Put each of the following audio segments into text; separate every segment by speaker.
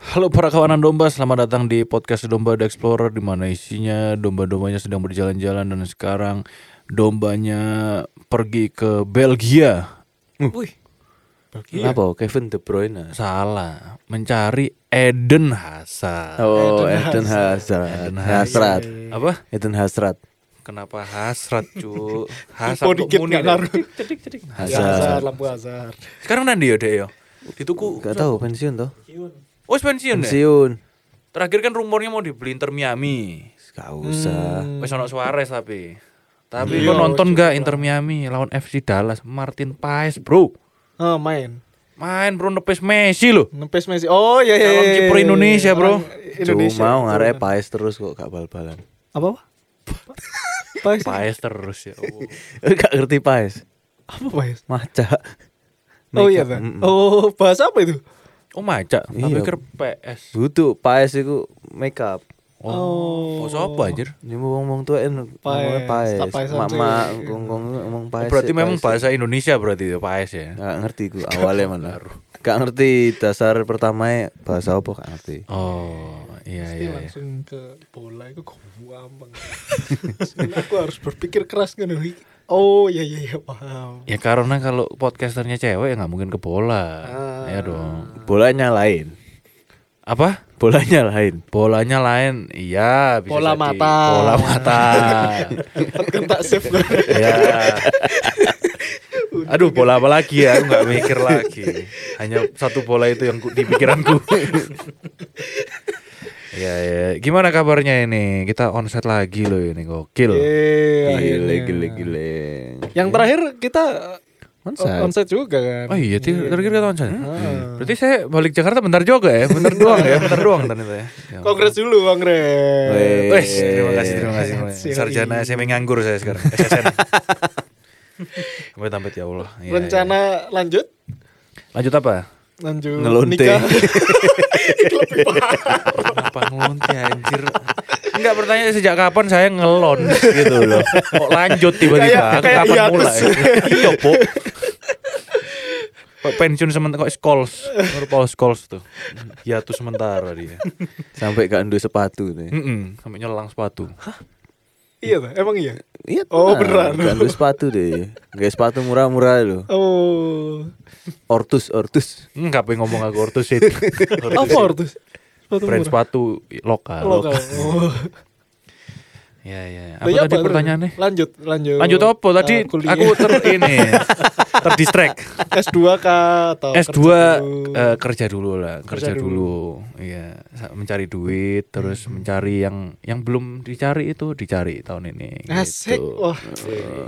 Speaker 1: Halo para kawanan domba, selamat datang di podcast Domba The Explorer di mana isinya domba-dombanya sedang berjalan-jalan dan sekarang dombanya pergi ke Belgia.
Speaker 2: Uh.
Speaker 3: Wih. Kenapa Kevin De Bruyne?
Speaker 1: Salah, mencari Eden Hazard.
Speaker 3: Oh, Eden Hazard. Hasrat.
Speaker 1: Apa?
Speaker 3: Eden Hasrat.
Speaker 1: Kenapa hasrat, cu?
Speaker 2: Oh,
Speaker 1: Hasrat kok ya?
Speaker 2: dikit
Speaker 1: muni deh.
Speaker 2: nggak ngaruh.
Speaker 3: Hazard.
Speaker 2: Ya, Hazard, lampu Hazard.
Speaker 1: Sekarang nanti ya, Dek, ya. Dituku.
Speaker 3: Gak tahu pensiun toh?
Speaker 1: Oh, pensiun deh.
Speaker 3: Pensiun.
Speaker 1: Terakhir kan rumornya mau dibeli Inter Miami.
Speaker 3: Gak usah.
Speaker 1: Wes ono Suarez tapi. Tapi lo nonton gak Inter Miami lawan FC Dallas Martin Paes, Bro.
Speaker 2: Oh, main.
Speaker 1: Main bro nepes Messi loh.
Speaker 2: Nempes Messi. Oh, ya ya.
Speaker 1: Calon
Speaker 2: ya, ya,
Speaker 1: kiper
Speaker 2: ya.
Speaker 1: Indonesia, bro.
Speaker 2: Orang Indonesia.
Speaker 3: Cuma ngarep paes terus kok gak bal-balan.
Speaker 2: Apa? Apa? Paes.
Speaker 1: Paes terus ya. Allah.
Speaker 3: gak ngerti paes.
Speaker 2: Apa Paes?
Speaker 3: Maca.
Speaker 2: Oh iya, Pak. Oh, bahasa apa itu?
Speaker 1: Oh maca, tapi
Speaker 3: Iya.
Speaker 1: ker PS.
Speaker 3: Butuh paes itu makeup.
Speaker 1: Oh, oh siapa anjir?
Speaker 3: Ini mau ngomong tua en ngomongnya
Speaker 2: Paes,
Speaker 3: paes.
Speaker 2: tak paesan
Speaker 3: Mama
Speaker 2: sih.
Speaker 3: ngomong ngomong paes.
Speaker 1: Oh, berarti
Speaker 3: paes.
Speaker 1: memang bahasa Indonesia berarti ya Paes ya.
Speaker 3: Gak ngerti ku awalnya mana. Gak ngerti dasar pertamanya bahasa apa gak ngerti.
Speaker 1: Oh, iya
Speaker 2: Pasti
Speaker 1: iya. iya.
Speaker 2: langsung ke bola itu gampang. Aku harus berpikir keras kan. Oh, iya iya iya, paham.
Speaker 1: Ya karena kalau podcasternya cewek ya nggak mungkin ke bola. Ya dong.
Speaker 3: Bolanya lain.
Speaker 1: Apa?
Speaker 3: Bolanya lain.
Speaker 1: Bolanya lain. Iya, bisa
Speaker 2: Bola
Speaker 1: jadi.
Speaker 2: mata.
Speaker 1: Bola mata.
Speaker 2: Kan tak save kan.
Speaker 1: ya. Aduh, bola apa lagi ya? Aku nggak mikir lagi. Hanya satu bola itu yang ku- di pikiranku. ya, ya. Gimana kabarnya ini? Kita onset lagi loh ini gokil.
Speaker 3: Gile
Speaker 2: Yeay, Iya, akhirnya.
Speaker 3: gile gile.
Speaker 2: Yang terakhir kita
Speaker 3: Onside.
Speaker 2: onset juga kan.
Speaker 1: Oh iya, ti- terakhir kita onset. Hmm. Berarti saya balik Jakarta bentar juga ya, bentar doang ya, bentar doang ternyata ya. Ya ampun.
Speaker 2: Kongres dulu Bang Ren.
Speaker 3: Weh.
Speaker 1: Wes, terima kasih, terima kasih. Iya. terima kasih.
Speaker 2: Siap.
Speaker 1: Sarjana saya nganggur saya sekarang. SSN. Sampai tampet ya Allah. Iya, iya.
Speaker 2: Rencana lanjut?
Speaker 1: Lanjut apa?
Speaker 2: Lanjut
Speaker 3: Ngelonte.
Speaker 2: nikah.
Speaker 1: Apa ngelon sih, anjir? Enggak bertanya sejak kapan saya ngelon gitu loh. Kok lanjut tiba-tiba?
Speaker 2: Kayak-
Speaker 1: Aku
Speaker 2: kayak
Speaker 1: kapan
Speaker 2: hiatus.
Speaker 1: mulai? Iya, Po. Kok pensiun sementara kok skols, baru paus skols Iya, tuh. Hiatus sementara dia.
Speaker 3: Sampai gak ndu sepatu nih.
Speaker 1: Mm-mm, sampai nyelang sepatu.
Speaker 2: iya, Pak. emang iya.
Speaker 3: Iya.
Speaker 2: Oh,
Speaker 3: benar. Gak
Speaker 2: beneran.
Speaker 3: ndu sepatu deh. Gak sepatu murah-murah loh.
Speaker 2: Oh.
Speaker 3: Ortus ortus.
Speaker 1: Enggak pengen ngomong aku ortusit.
Speaker 2: Apa Ortus? Sepatu
Speaker 1: Brand
Speaker 2: murah.
Speaker 1: sepatu lokal.
Speaker 2: Lokal. Oh.
Speaker 1: Ya ya.
Speaker 2: Tanya
Speaker 1: Apa tadi
Speaker 2: terus?
Speaker 1: pertanyaannya?
Speaker 2: Lanjut, lanjut.
Speaker 1: Lanjut apa tadi?
Speaker 2: Eh, kuliah.
Speaker 1: aku ter ini terdistract.
Speaker 2: S2 K atau
Speaker 1: S2
Speaker 2: kerja dulu?
Speaker 1: eh, kerja dulu lah, kerja,
Speaker 2: Kerja
Speaker 1: dulu. Iya, sa- mencari duit terus
Speaker 2: Hmm.
Speaker 1: mencari yang yang belum dicari itu dicari tahun ini
Speaker 2: Asik.
Speaker 1: gitu.
Speaker 2: Wah.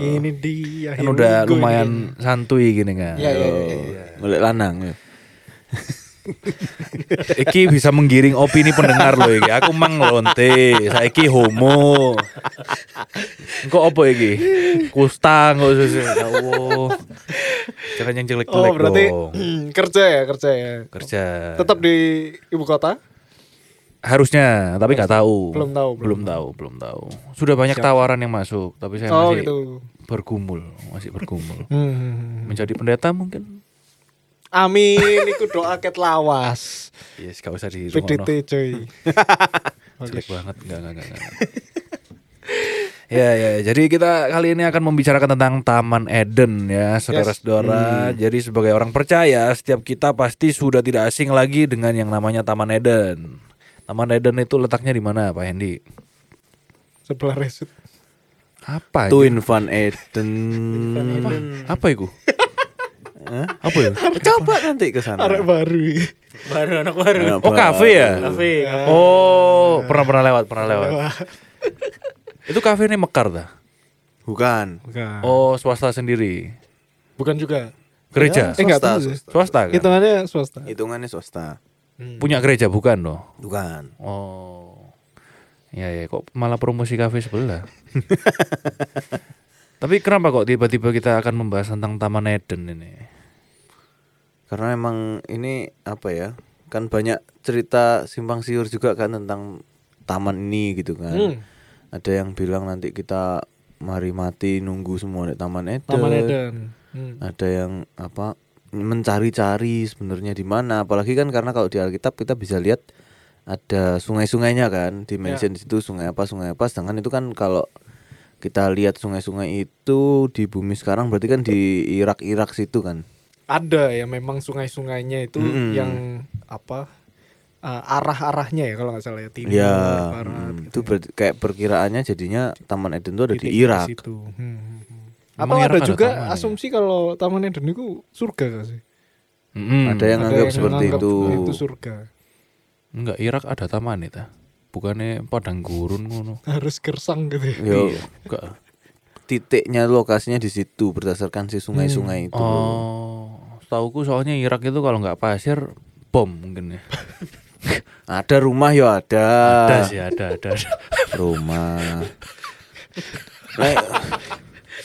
Speaker 2: Ini dia.
Speaker 1: Kan
Speaker 2: here we
Speaker 1: udah
Speaker 2: go ini.
Speaker 1: lumayan santuy gini kan.
Speaker 2: Iya, iya, iya.
Speaker 3: Mulai Oh, lanang ya.
Speaker 1: Iki bisa menggiring opini pendengar loh iki. Aku mang lonte, saiki homo. Engko apa iki? Kusta engko susu. Ya Allah. Jangan yang
Speaker 2: Oh,
Speaker 1: jelek-jelek
Speaker 2: berarti
Speaker 1: dong.
Speaker 2: kerja ya, kerja ya.
Speaker 1: Kerja.
Speaker 2: Tetap di ibu kota?
Speaker 1: Harusnya, tapi nggak tahu.
Speaker 2: Belum tahu,
Speaker 1: Belum tahu, belum tahu. Sudah banyak tawaran yang masuk, tapi saya
Speaker 2: Oh,
Speaker 1: masih
Speaker 2: gitu.
Speaker 1: bergumul, masih bergumul.
Speaker 2: Hmm.
Speaker 1: Menjadi pendeta mungkin?
Speaker 2: Amin, iku doa ket lawas.
Speaker 1: Yes, gak usah di
Speaker 2: PDT cuy.
Speaker 3: Hmm.
Speaker 1: jelek banget enggak enggak enggak, enggak. Ya ya, jadi kita kali ini akan membicarakan tentang Taman Eden ya,
Speaker 2: Hmm.
Speaker 1: saudara-saudara. Jadi sebagai orang percaya, setiap kita pasti sudah tidak asing lagi dengan yang namanya Taman Eden. Taman Eden itu letaknya di mana, Pak Hendy?
Speaker 2: Sebelah resut.
Speaker 1: Apa? itu?
Speaker 3: Twin Van Eden.
Speaker 1: apa? Apa itu?
Speaker 3: Hah?
Speaker 1: Apa ya?
Speaker 3: Coba nanti ke sana.
Speaker 2: Arek baru.
Speaker 4: baru anak baru
Speaker 3: Nah,
Speaker 1: Oh, kafe ya?
Speaker 4: kafe kafe.
Speaker 1: Oh, pernah pernah lewat, pernah lewat. Itu kafe ini Mekar dah.
Speaker 3: Bukan.
Speaker 2: Bukan.
Speaker 1: Oh, swasta sendiri.
Speaker 2: Bukan juga.
Speaker 1: Gereja.
Speaker 2: Eh, enggak
Speaker 3: Swasta,
Speaker 2: tahu sih.
Speaker 3: swasta. Hmm.
Speaker 1: Swasta kan?
Speaker 2: Hitungannya swasta.
Speaker 3: Hitungannya swasta.
Speaker 1: Punya gereja bukan loh.
Speaker 3: Bukan.
Speaker 1: Oh. Ya ya kok malah promosi kafe sebelah. Tapi kenapa kok tiba-tiba kita akan membahas tentang Taman Eden ini?
Speaker 3: Karena emang ini apa ya? Kan banyak cerita simpang siur juga kan tentang taman ini gitu kan.
Speaker 2: Hmm.
Speaker 3: Ada yang bilang nanti kita mari mati nunggu semua di Taman Eden.
Speaker 2: Taman Eden. Hmm.
Speaker 3: Ada yang apa? mencari-cari sebenarnya di mana apalagi kan karena kalau di Alkitab kita bisa lihat ada sungai-sungainya kan di mention di situ sungai apa sungai apa sedangkan itu kan kalau kita lihat sungai-sungai itu di bumi sekarang berarti kan di Irak-Irak situ kan
Speaker 2: ada ya memang sungai-sungainya itu
Speaker 3: Mm-mm.
Speaker 2: yang apa eh, arah-arahnya ya kalau nggak salah ya timur
Speaker 3: ya
Speaker 2: barat
Speaker 3: mm,
Speaker 2: gitu
Speaker 3: itu
Speaker 2: ya.
Speaker 3: ber- kayak perkiraannya jadinya Taman Eden itu ada di
Speaker 2: Titik
Speaker 3: Irak
Speaker 2: situ. Hmm, hmm, hmm.
Speaker 1: Emang
Speaker 2: Atau
Speaker 1: Irak
Speaker 2: ada
Speaker 1: ada
Speaker 2: juga
Speaker 1: taman ya?
Speaker 2: asumsi kalau Taman Eden itu surga nggak sih?
Speaker 1: Mm-mm.
Speaker 3: Hmm. ada yang
Speaker 2: Ada
Speaker 3: anggap seperti
Speaker 2: menganggap
Speaker 3: itu
Speaker 2: Itu surga.
Speaker 1: Enggak, Irak ada taman itu. Bukannya padang gurun ngono.
Speaker 2: Harus gersang gitu ya.
Speaker 3: Yo,
Speaker 1: Enggak.
Speaker 3: titiknya lokasinya di situ berdasarkan si sungai-sungai itu
Speaker 1: Hmm. Oh, setauku soalnya Irak itu kalau nggak pasir bom mungkin ya.
Speaker 3: Nah, ada rumah yo ada,
Speaker 1: Ada sih, ada, ada. ada.
Speaker 3: rumah Lek,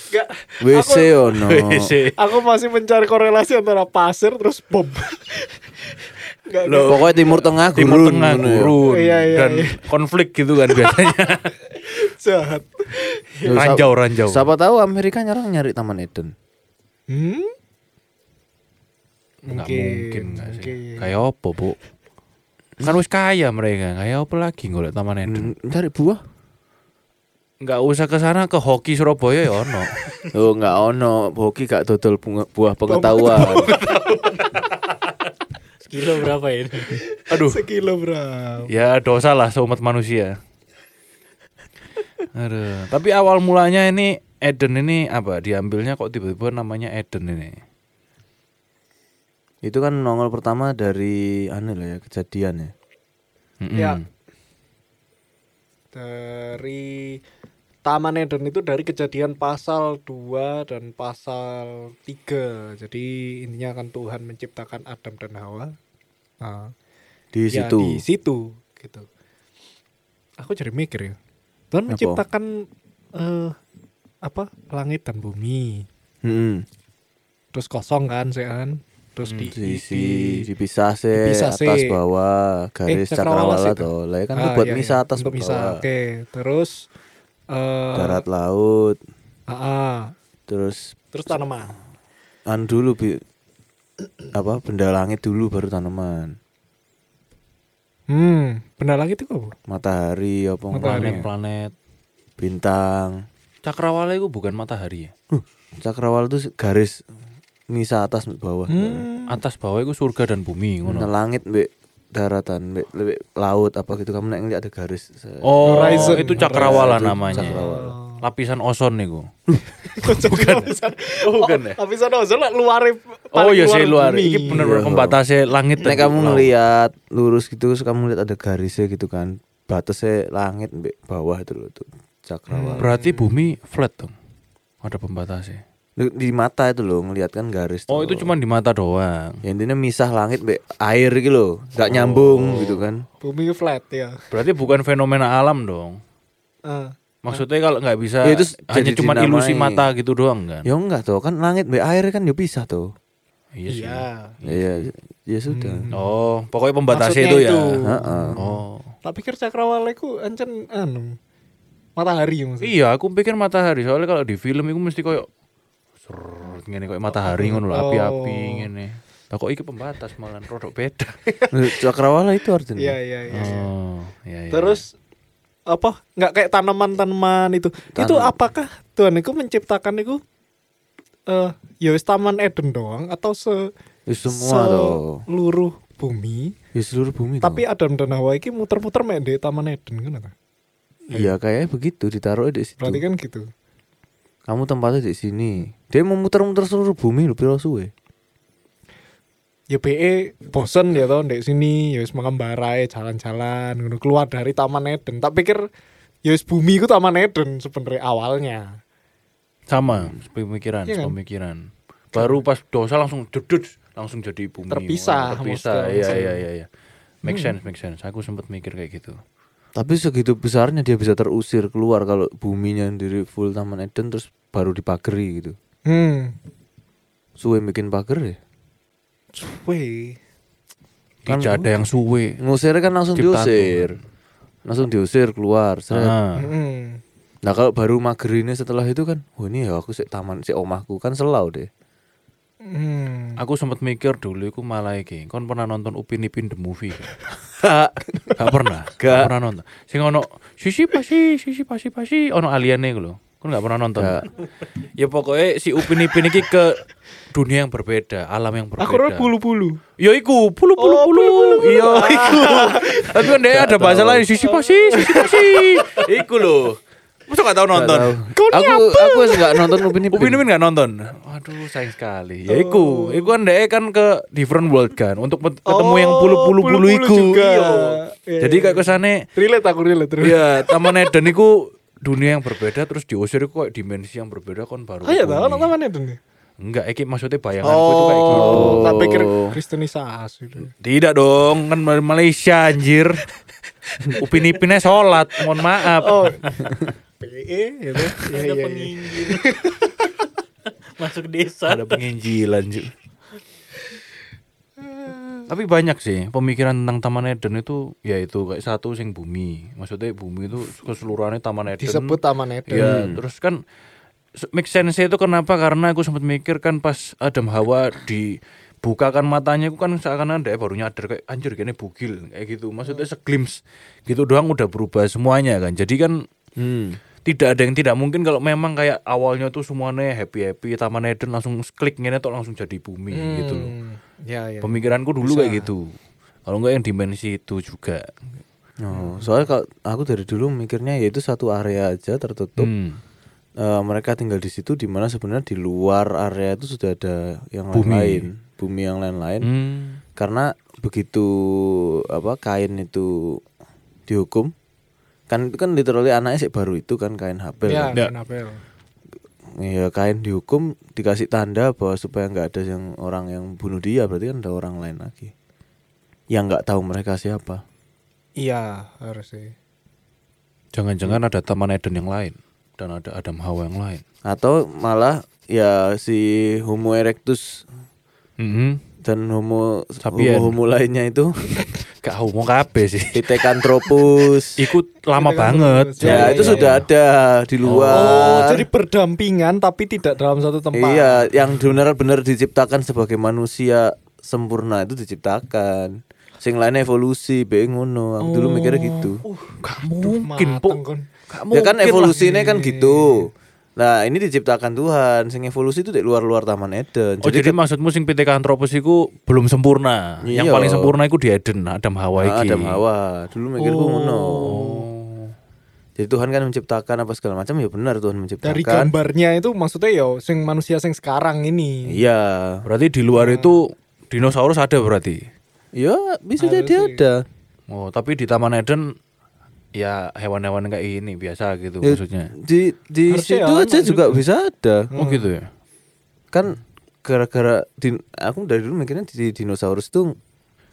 Speaker 2: Nggak,
Speaker 3: WC
Speaker 1: Oh.
Speaker 3: ono
Speaker 1: WC.
Speaker 2: aku masih mencari korelasi antara pasir terus bom. Nggak,
Speaker 3: Loh, pokoknya timur tengah
Speaker 1: Timur
Speaker 3: gurun
Speaker 1: Tengah
Speaker 3: ngono ya. yo.
Speaker 1: gurun
Speaker 2: Iya, iya,
Speaker 1: dan
Speaker 2: iya.
Speaker 1: konflik gitu kan biasanya.
Speaker 2: nggak jahat.
Speaker 3: Yo, sa-
Speaker 1: ranjau, ranjau.
Speaker 3: siapa tahu Amerika nyerang nyari Taman Eden
Speaker 2: Hmm?
Speaker 1: Nggak
Speaker 2: Mungkin,
Speaker 1: mungkin nggak sih.
Speaker 2: mungkin.
Speaker 1: Kayak apa, Bu? Kan wis kaya mereka, kayak apa lagi golek Taman Eden.
Speaker 3: Hmm, nyari buah
Speaker 1: Nggak usah ke sana ke hoki Surabaya ya ono.
Speaker 3: Oh nggak ono, Hoki gak dodol bunga- buah pengetahuan.
Speaker 4: Sekilo berapa ya ini?
Speaker 1: Aduh.
Speaker 2: Sekilo berapa?
Speaker 1: Ya dosa lah seumat manusia. Aduh. Tapi awal mulanya ini Eden ini apa diambilnya kok tiba-tiba namanya Eden ini?
Speaker 3: Itu kan nongol pertama dari anu lah ya kejadian ya.
Speaker 1: Mm-mm.
Speaker 2: Ya.
Speaker 4: Hmm.
Speaker 2: Dari Taman Eden itu dari kejadian pasal 2 dan pasal 3. Jadi intinya kan Tuhan menciptakan Adam dan Hawa. Nah,
Speaker 3: Di
Speaker 2: ya,
Speaker 3: situ.
Speaker 2: di situ gitu. Aku jadi mikir ya. Tuhan
Speaker 3: Apa?
Speaker 2: menciptakan eh, apa? Langit dan bumi.
Speaker 3: Mm-mm.
Speaker 2: Terus kosong kan, Sean? Terus
Speaker 3: Hmm,
Speaker 2: di,
Speaker 3: Diisi, dipisah sih
Speaker 2: dipisah sih.
Speaker 3: atas bawah garis
Speaker 2: Eh, cakrawala
Speaker 3: cakrawala
Speaker 2: sih itu.
Speaker 3: tuh. Lah ya kan itu
Speaker 2: Ah,
Speaker 3: buat
Speaker 2: iya,
Speaker 3: misa
Speaker 2: iya,
Speaker 3: atas
Speaker 2: untuk misa.
Speaker 3: bawah.
Speaker 2: Oke, terus eh,
Speaker 3: Darat laut,
Speaker 2: ah, ah.
Speaker 3: terus
Speaker 2: terus tanaman.
Speaker 3: an dulu bi- apa benda langit dulu baru tanaman.
Speaker 2: Hmm, benda langit itu apa?
Speaker 3: Matahari apa
Speaker 2: Matahari.
Speaker 3: ngomongnya?
Speaker 1: Planet-planet.
Speaker 3: bintang. Uh,
Speaker 1: Cakrawala itu bukan matahari ya.
Speaker 3: Cakrawala itu garis misa atas bawah.
Speaker 2: Hmm.
Speaker 1: Atas bawah itu surga dan bumi ngono.
Speaker 3: Nah, langit mbek daratan mbek mbek laut apa gitu kamu nek ngeliat ada garis se-
Speaker 1: Oh,
Speaker 2: Horizon.
Speaker 1: itu cakrawala
Speaker 3: Horizon,
Speaker 1: namanya.
Speaker 3: cakrawala.
Speaker 1: Lapisan ozon niku.
Speaker 2: bukan. Oh, bukan ya? iya Lapisan ozon lah luar
Speaker 1: Oh ya saya luar. Ini
Speaker 2: bumi.
Speaker 1: bener-bener
Speaker 3: Iya.
Speaker 1: pembatasnya langit.
Speaker 3: nek
Speaker 1: dan
Speaker 3: kamu
Speaker 1: laut.
Speaker 3: ngeliat lurus gitu terus kamu ngeliat ada garisnya gitu kan batasnya langit mbek bawah itu loh tuh cakrawala
Speaker 1: Berarti bumi flat dong. Ada pembatasnya.
Speaker 2: Hmm.
Speaker 3: Lu- di mata itu loh ngeliat kan garis tuh
Speaker 1: Oh itu
Speaker 3: loh.
Speaker 1: cuma di mata doang.
Speaker 3: ya, intinya misah langit mbek air gitu loh nggak nyambung
Speaker 2: Oh.
Speaker 3: gitu kan
Speaker 2: Bumi flat ya.
Speaker 1: Berarti bukan fenomena alam dong.
Speaker 2: Ah.
Speaker 1: Maksudnya kalau nggak bisa
Speaker 3: Ya, itu
Speaker 1: hanya
Speaker 3: jadi
Speaker 1: cuma
Speaker 3: dinamai.
Speaker 1: ilusi mata gitu doang kan?
Speaker 3: ya enggak tuh kan langit mbek air kan ya pisah tuh
Speaker 1: Iya. sih.
Speaker 2: Iya.
Speaker 3: ya ya
Speaker 2: Hmm.
Speaker 3: sudah
Speaker 1: Oh, pokoknya pembatasnya
Speaker 2: Maksudnya
Speaker 1: itu ya.
Speaker 2: itu.
Speaker 3: Heeh.
Speaker 1: Oh.
Speaker 2: Tak pikir cakrawala itu ancen anu matahari maksudnya.
Speaker 1: Iya, aku pikir matahari soalnya kalau di film itu mesti koyo serut ngene koyo matahari ngono lho, api-api ngene. Lah kok iki pembatas malah rodok beda.
Speaker 3: cakrawala itu artinya
Speaker 2: Iya iya iya.
Speaker 1: oh, iya iya.
Speaker 2: Terus apa nggak kayak tanaman-tanaman itu itu apakah Tuhan itu menciptakan itu eh ya wis taman Eden doang atau se
Speaker 3: Ya, semua tuh
Speaker 2: seluruh bumi
Speaker 3: Ya seluruh bumi
Speaker 2: tapi Adam dan Hawa ini muter-muter main di taman Eden kan ta?
Speaker 3: Iya kayaknya begitu ditaruh di situ.
Speaker 2: berarti kan gitu
Speaker 3: Kamu tempatnya di sini. Dia mau muter-muter seluruh bumi lho piro suwe.
Speaker 2: ya BE bosen ya tau di sini ya wis makan barai jalan-jalan ngono keluar dari taman Eden tak pikir ya wis bumi itu taman Eden sebenarnya awalnya
Speaker 1: sama pemikiran,
Speaker 2: Iya kan?
Speaker 1: pemikiran. Baru pas dosa langsung dedut, langsung jadi bumi.
Speaker 2: Terpisah,
Speaker 1: terpisah.
Speaker 2: maksudnya.
Speaker 1: Iya, iya, iya, iya. Make sense, make sense. Aku sempat mikir kayak gitu.
Speaker 3: Tapi segitu besarnya dia bisa terusir keluar kalau buminya sendiri full Taman Eden terus baru dipageri gitu.
Speaker 2: hmm
Speaker 3: Suwe bikin pager ya.
Speaker 2: suwe
Speaker 1: Kan ada yang suwe.
Speaker 3: Ngusirnya kan langsung
Speaker 1: Ciptaan
Speaker 3: diusir. Langsung diusir keluar.
Speaker 2: Eh,
Speaker 3: seret.
Speaker 1: Nah,
Speaker 2: hmm.
Speaker 3: Nah kalau baru magerinnya setelah itu kan, wah ini ya aku sik taman sik omahku kan selau deh.
Speaker 2: Hmm.
Speaker 1: Aku sempat mikir dulu aku malah iki, kon pernah nonton Upin Ipin the movie? Gak pernah. Gak pernah nonton. Sing ono sisi pasi sisi pasi pasi ono aliene iku lho. Kon gak pernah nonton.
Speaker 3: Gak.
Speaker 1: ya pokoknya si Upin Ipin iki ke dunia yang berbeda, alam yang berbeda.
Speaker 2: Aku kira bulu-bulu. Oh,
Speaker 1: Yo iku, pulu pulu pulu. Yo iku. Tapi kan dia ada bahasa lain sisi pasi sisi pasi. iku lho. Masa gak tau nonton?
Speaker 3: aku aku nggak nonton Upin Ipin.
Speaker 1: Upin Ipin Oh, nggak nonton. Aduh sayang sekali. Ya
Speaker 2: Oh.
Speaker 1: iku, iku kan deh kan ke different world kan untuk met- ketemu yang
Speaker 2: Oh,
Speaker 1: pulu-pulu pulu
Speaker 2: pulu-pulu
Speaker 1: iku.
Speaker 2: juga.
Speaker 1: Iya.
Speaker 2: Iya,
Speaker 1: Jadi
Speaker 2: iya,
Speaker 1: kayak kesane
Speaker 2: Relate aku relate. relate.
Speaker 1: ya Taman Eden iku dunia yang berbeda terus diusir iku kayak dimensi yang berbeda kan baru.
Speaker 2: Ah ya
Speaker 1: bumi.
Speaker 2: tahu nama Eden ya? Oh.
Speaker 1: Enggak, iki maksudnya bayanganku itu kayak gitu.
Speaker 2: tak pikir kristenisasi.
Speaker 1: Tidak dong, kan dari Malaysia anjir. Upin Ipinnya sholat, mohon maaf.
Speaker 2: Oh. PE gitu. Ya
Speaker 4: ada
Speaker 2: ya. ya.
Speaker 4: penginjil masuk desa
Speaker 1: Ada penginjilan Ju. Tapi banyak sih pemikiran tentang Taman Eden itu yaitu kayak satu sing bumi. Maksudnya bumi itu keseluruhannya Taman Eden.
Speaker 2: Disebut Taman Eden.
Speaker 1: Ya, terus kan se- make sense itu kenapa? Karena aku sempat mikir kan pas Adam Hawa dibukakan matanya aku kan seakan-akan dia baru nyadar kayak anjir kayaknya bugil kayak gitu. Maksudnya seglims gitu doang udah berubah semuanya kan. Jadi kan
Speaker 3: Hmm.
Speaker 1: tidak ada yang tidak mungkin kalau memang kayak awalnya tuh semuanya happy happy taman Eden langsung klik ngene tuh langsung jadi bumi gitu loh
Speaker 2: Ya ya.
Speaker 1: pemikiranku dulu kayak gitu kalau enggak yang dimensi itu juga
Speaker 3: Oh, soalnya kalau aku dari dulu mikirnya yaitu satu area aja tertutup.
Speaker 1: hmm.
Speaker 3: Eh, mereka tinggal di situ dimana sebenarnya di luar area itu sudah ada yang
Speaker 1: Bumi.
Speaker 3: lain, bumi yang lain-lain.
Speaker 1: Hmm.
Speaker 3: karena begitu apa kain itu dihukum kan itu kan literally anaknya sih baru itu kan kain Habel
Speaker 2: Ya,
Speaker 3: kan.
Speaker 1: Ya.
Speaker 2: Nabel.
Speaker 3: Iya, kain dihukum dikasih tanda bahwa supaya nggak ada yang orang yang bunuh dia berarti kan ada orang lain lagi yang nggak tahu mereka siapa
Speaker 2: Iya, harus sih.
Speaker 1: jangan-jangan ada taman Eden yang lain dan ada Adam Hawa yang lain
Speaker 3: atau malah ya si Homo erectus
Speaker 1: hmm.
Speaker 3: dan Homo
Speaker 1: Sapien.
Speaker 3: Homo, lainnya itu
Speaker 1: gak homo kabeh sih
Speaker 3: Pithecanthropus
Speaker 1: ikut lama banget
Speaker 3: ya itu sudah ada di luar
Speaker 2: Oh, jadi berdampingan tapi tidak dalam satu tempat.
Speaker 3: Iya, yang benar-benar diciptakan sebagai manusia sempurna itu diciptakan. Sing lain evolusi, be ngono. Aku dulu mikirnya gitu.
Speaker 1: gak mungkin po
Speaker 2: Mateng, kon.
Speaker 1: gak
Speaker 3: ya
Speaker 1: mungkin
Speaker 3: kan
Speaker 1: lah.
Speaker 3: evolusinya kan gitu. Nah, ini diciptakan Tuhan. Sing evolusi itu di luar-luar Taman Eden.
Speaker 1: Oh jadi, maksudmu sing Pithecanthropus iku belum sempurna. Yang
Speaker 3: Iya.
Speaker 1: paling sempurna iku di Eden, Adam Hawa
Speaker 3: ah,
Speaker 1: iki.
Speaker 3: Adam Hawa. Dulu mikirku ngono. Jadi Tuhan kan menciptakan apa segala macam ya benar Tuhan menciptakan.
Speaker 2: Dari gambarnya itu maksudnya ya sing manusia sing sekarang ini.
Speaker 3: Iya.
Speaker 1: Berarti di luar
Speaker 2: Hmm.
Speaker 1: itu dinosaurus ada berarti.
Speaker 3: Ya, bisa jadi ada.
Speaker 1: Oh, tapi di Taman Eden ya hewan-hewan kayak ini biasa gitu
Speaker 3: Ya,
Speaker 1: maksudnya.
Speaker 3: Di di
Speaker 2: Harusnya
Speaker 3: situ
Speaker 2: ya,
Speaker 3: aja juga bisa ada.
Speaker 2: Hmm.
Speaker 1: Oh gitu ya.
Speaker 3: kan gara-gara din- aku dari dulu mikirnya di dinosaurus tuh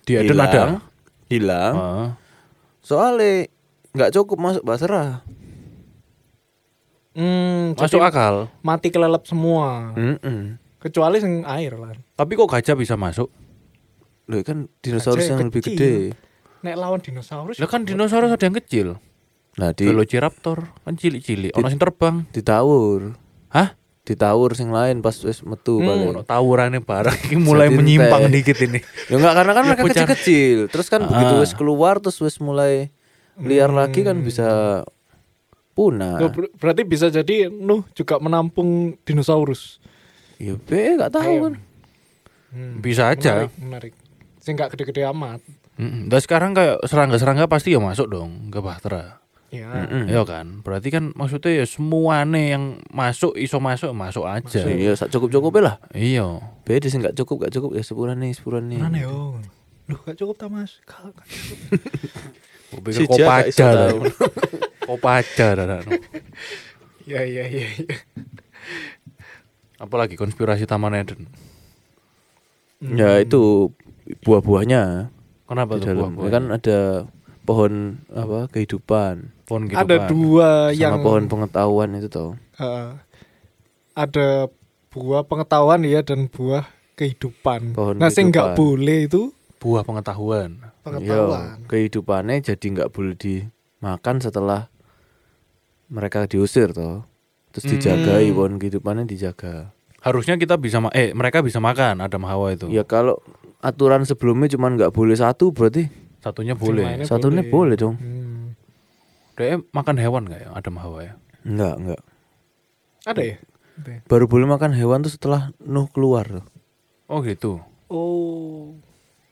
Speaker 1: Di Eden
Speaker 3: hilang,
Speaker 1: ada.
Speaker 3: hilang
Speaker 1: Ah.
Speaker 3: soalnya nggak cukup masuk basrah
Speaker 2: Hmm,
Speaker 1: Masuk
Speaker 2: jadi
Speaker 1: akal.
Speaker 2: mati kelelep semua.
Speaker 3: Mm-mm.
Speaker 2: Kecuali sing air lah.
Speaker 1: Tapi kok gajah bisa masuk?
Speaker 3: Loh, kan dinosaurus
Speaker 2: Gajah
Speaker 3: yang
Speaker 2: yang
Speaker 3: lebih
Speaker 2: kecil.
Speaker 3: gede
Speaker 2: Nek lawan dinosaurus.
Speaker 1: Lah kan dinosaurus ada yang kecil.
Speaker 3: nah di
Speaker 1: Velociraptor kan cilik-cilik, ono sing terbang.
Speaker 3: ditawur
Speaker 1: Hah?
Speaker 3: ditawur sing lain pas wis metu
Speaker 1: Ono
Speaker 3: balik
Speaker 1: tawurannya barang ini mulai
Speaker 3: Jadi
Speaker 1: menyimpang
Speaker 3: entek.
Speaker 1: dikit ini.
Speaker 3: ya nggak karena kan mereka
Speaker 1: bocah. Ah.
Speaker 3: kecil-kecil terus kan begitu wis keluar terus wis mulai liar
Speaker 1: Hmm.
Speaker 3: lagi kan bisa punah
Speaker 2: Loh, ya, ber- berarti bisa jadi Nuh juga menampung dinosaurus. Hmm,
Speaker 3: ya be nggak tahu kan
Speaker 1: Bisa aja.
Speaker 2: Menarik, menarik. Sing gak gede-gede amat.
Speaker 1: Mm-mm. Dan sekarang kayak serangga-serangga pasti ya masuk dong ke Bahtera.
Speaker 2: Ya.
Speaker 3: Mm.
Speaker 1: Iya kan? Berarti kan maksudnya ya semuanya yang masuk iso masuk masuk aja.
Speaker 3: ya cukup cukup lah
Speaker 1: Iya.
Speaker 3: Beda sih nggak cukup nggak cukup ya sepuluh nih sepuluh nih.
Speaker 2: Mana yo? Loh, gak cukup ta, Mas? Gak- gak cukup.
Speaker 1: Gua pikir
Speaker 3: Si Jack gak iso
Speaker 1: kopaja dah.
Speaker 3: tahu.
Speaker 1: Kopaja dah, dah.
Speaker 2: Ya, ya, ya, ya.
Speaker 1: Apalagi konspirasi Taman Eden.
Speaker 3: Ya itu buah-buahnya
Speaker 1: Kenapa
Speaker 3: di
Speaker 1: tuh
Speaker 3: dalam.
Speaker 1: buah-buah?
Speaker 3: Ya Kan ada pohon apa kehidupan
Speaker 1: pohon gitu
Speaker 2: Ada
Speaker 1: kan.
Speaker 2: dua Eh, yang
Speaker 3: sama pohon pengetahuan itu toh.
Speaker 2: eh, ada buah pengetahuan ya dan buah kehidupan.
Speaker 3: Pohon
Speaker 2: nah, sing gak
Speaker 3: kehidupan.
Speaker 2: boleh itu
Speaker 1: buah pengetahuan.
Speaker 3: Ya,
Speaker 2: pengetahuan.
Speaker 3: kehidupannya jadi nggak boleh dimakan setelah mereka diusir toh. Terus dijagai pohon kehidupannya dijaga.
Speaker 1: harusnya kita bisa ma- eh mereka bisa makan Adam Hawa itu.
Speaker 3: Ya kalau aturan sebelumnya cuman nggak boleh satu berarti
Speaker 1: Satunya boleh.
Speaker 2: lainnya-
Speaker 3: satunya boleh,
Speaker 2: boleh.
Speaker 3: dong.
Speaker 2: Hmm.
Speaker 1: Dia makan hewan nggak ya Adam Hawa ya?
Speaker 3: Enggak, enggak.
Speaker 2: Ada ya?
Speaker 3: Baru boleh makan hewan tuh setelah Nuh keluar tuh.
Speaker 1: Oh gitu.
Speaker 4: Oh.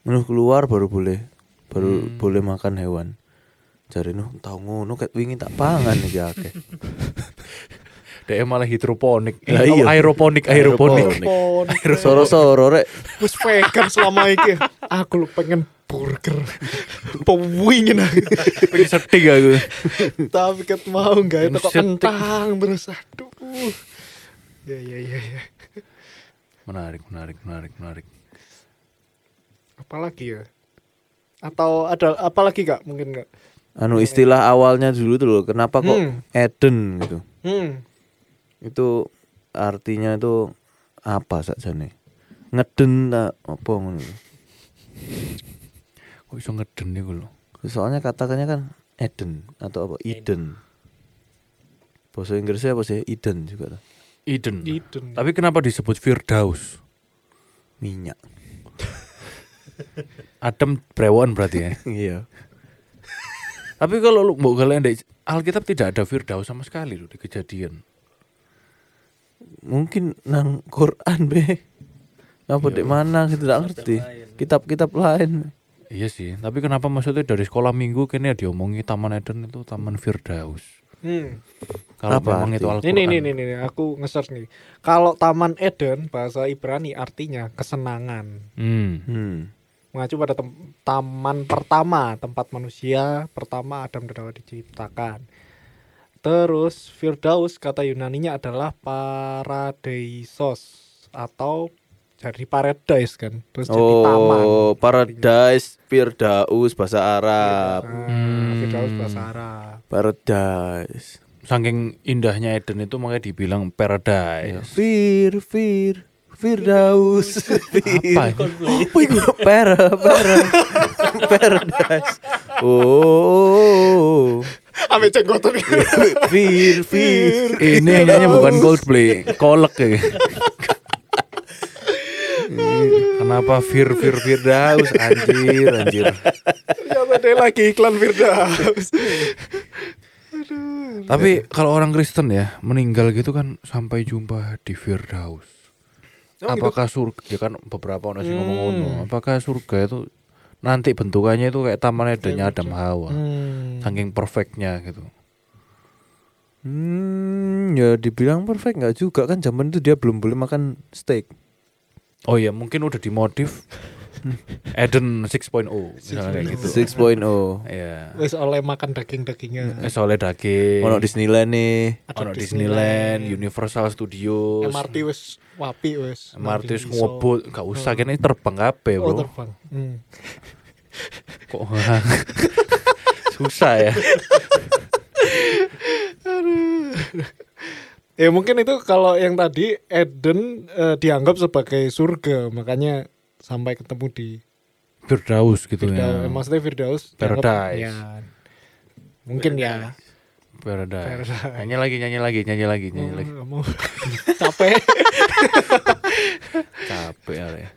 Speaker 3: Nuh keluar baru boleh baru boleh makan hewan. Cari Nuh tahu ngono ket wingi tak pangan iki akeh.
Speaker 1: Dia malah hidroponik. Eh,
Speaker 3: Lah iya.
Speaker 1: oh, aeroponik, aeroponik.
Speaker 2: Pon.
Speaker 3: Soro-soro rek.
Speaker 2: Wis vegan selama ini. Aku lu pengen burger. Pengen aku.
Speaker 1: Pengen Setting aku.
Speaker 2: Tapi ket mau enggak itu
Speaker 1: Insetik.
Speaker 2: kok kentang terus aduh. Ya ya ya ya.
Speaker 1: Menarik, menarik, menarik, menarik.
Speaker 2: Apalagi ya? Atau ada apalagi Kak? Mungkin enggak.
Speaker 3: Anu istilah awalnya dulu tuh loh, kenapa kok
Speaker 2: Hmm.
Speaker 3: Eden gitu.
Speaker 2: Hmm.
Speaker 3: Itu artinya itu apa saja nih? Ngeden tak apa ngono. lho.
Speaker 1: Kok bisa ngeden nih loh.
Speaker 3: Soalnya katanya kan Eden atau apa? Eden. Bahasa Inggrisnya apa sih? Eden juga tuh.
Speaker 1: Eden.
Speaker 2: Eden.
Speaker 1: Tapi kenapa disebut Firdaus?
Speaker 3: Minyak.
Speaker 1: Adam Brewon berarti ya.
Speaker 3: Iya.
Speaker 1: Tapi kalau lu mau kalian di Alkitab tidak ada Firdaus sama sekali loh di kejadian.
Speaker 3: Mungkin nang Quran be. Apa di mana kita tidak ngerti. Kitab-kitab lain.
Speaker 1: Iya sih, tapi kenapa maksudnya dari sekolah minggu kini diomongi Taman Eden itu Taman Firdaus.
Speaker 2: Hmm.
Speaker 1: Kalau
Speaker 3: Apa
Speaker 1: memang itu
Speaker 3: artinya?
Speaker 1: Al-Quran.
Speaker 2: Ini nih nih nih aku nge-search nih. Kalau Taman Eden bahasa Ibrani artinya kesenangan.
Speaker 1: Hmm.
Speaker 3: Hmm.
Speaker 2: mengacu pada tem- taman pertama tempat manusia pertama Adam dan Hawa diciptakan. Terus Firdaus kata Yunaninya adalah paradeisos atau jadi paradise kan. Terus jadi taman.
Speaker 3: Oh, Paradise Firdaus bahasa Arab.
Speaker 2: Nah, Firdaus bahasa Arab.
Speaker 3: Paradise.
Speaker 1: Saking indahnya Eden itu makanya dibilang paradise.
Speaker 3: Fir Fir Firdaus.
Speaker 1: Apa itu?
Speaker 3: Apa itu? Para para Paradise. Oh.
Speaker 2: Ambil cenggotan.
Speaker 3: Fir Fir.
Speaker 1: Ini nyanyinya bukan Coldplay, kolek ya. Kenapa Fir Fir Firdaus anjir anjir.
Speaker 2: Ternyata dia lagi iklan Firdaus.
Speaker 1: Tapi kalau orang Kristen ya meninggal gitu kan sampai jumpa di Firdaus.
Speaker 2: gitu?
Speaker 1: apakah surga ya kan beberapa orang sih ngomong ngono.
Speaker 2: Hmm.
Speaker 1: Apakah surga itu nanti bentukannya itu kayak taman Edennya
Speaker 2: Iya,
Speaker 1: Adam Hawa.
Speaker 2: Hmm.
Speaker 1: Saking perfectnya gitu.
Speaker 3: Hmm, ya dibilang perfect nggak juga kan zaman itu dia belum boleh makan steak.
Speaker 1: Oh iya, mungkin udah dimodif Eden 6.0 misalnya
Speaker 3: oh.
Speaker 1: kayak gitu.
Speaker 3: 6.0.
Speaker 1: Iya.
Speaker 2: Wes oleh makan daging-dagingnya.
Speaker 1: Eh, soalnya daging.
Speaker 3: Ono Disneyland nih.
Speaker 1: Ono Disneyland, Universal Studios,
Speaker 2: MRT wes wapi wes.
Speaker 1: MRT
Speaker 2: Nang iso.
Speaker 1: ngobot, gak usah kene terbang kabeh,
Speaker 2: Oh,
Speaker 1: Bro.
Speaker 2: terbang. Hmm.
Speaker 1: Kok susah ya.
Speaker 2: Ya mungkin itu kalau yang tadi Eden eh, dianggap sebagai surga, makanya sampai ketemu di
Speaker 1: Firdaus gitu
Speaker 2: Firdaus.
Speaker 1: ya.
Speaker 2: Maksudnya Firdaus dianggap-
Speaker 1: Paradise.
Speaker 2: Ya. Mungkin ya.
Speaker 1: Paradise. Nyanyi lagi, nyanyi lagi, nyanyi lagi, nyanyi lagi.
Speaker 2: Nggak Oh, mau. capek.
Speaker 1: Capek Ale, ya.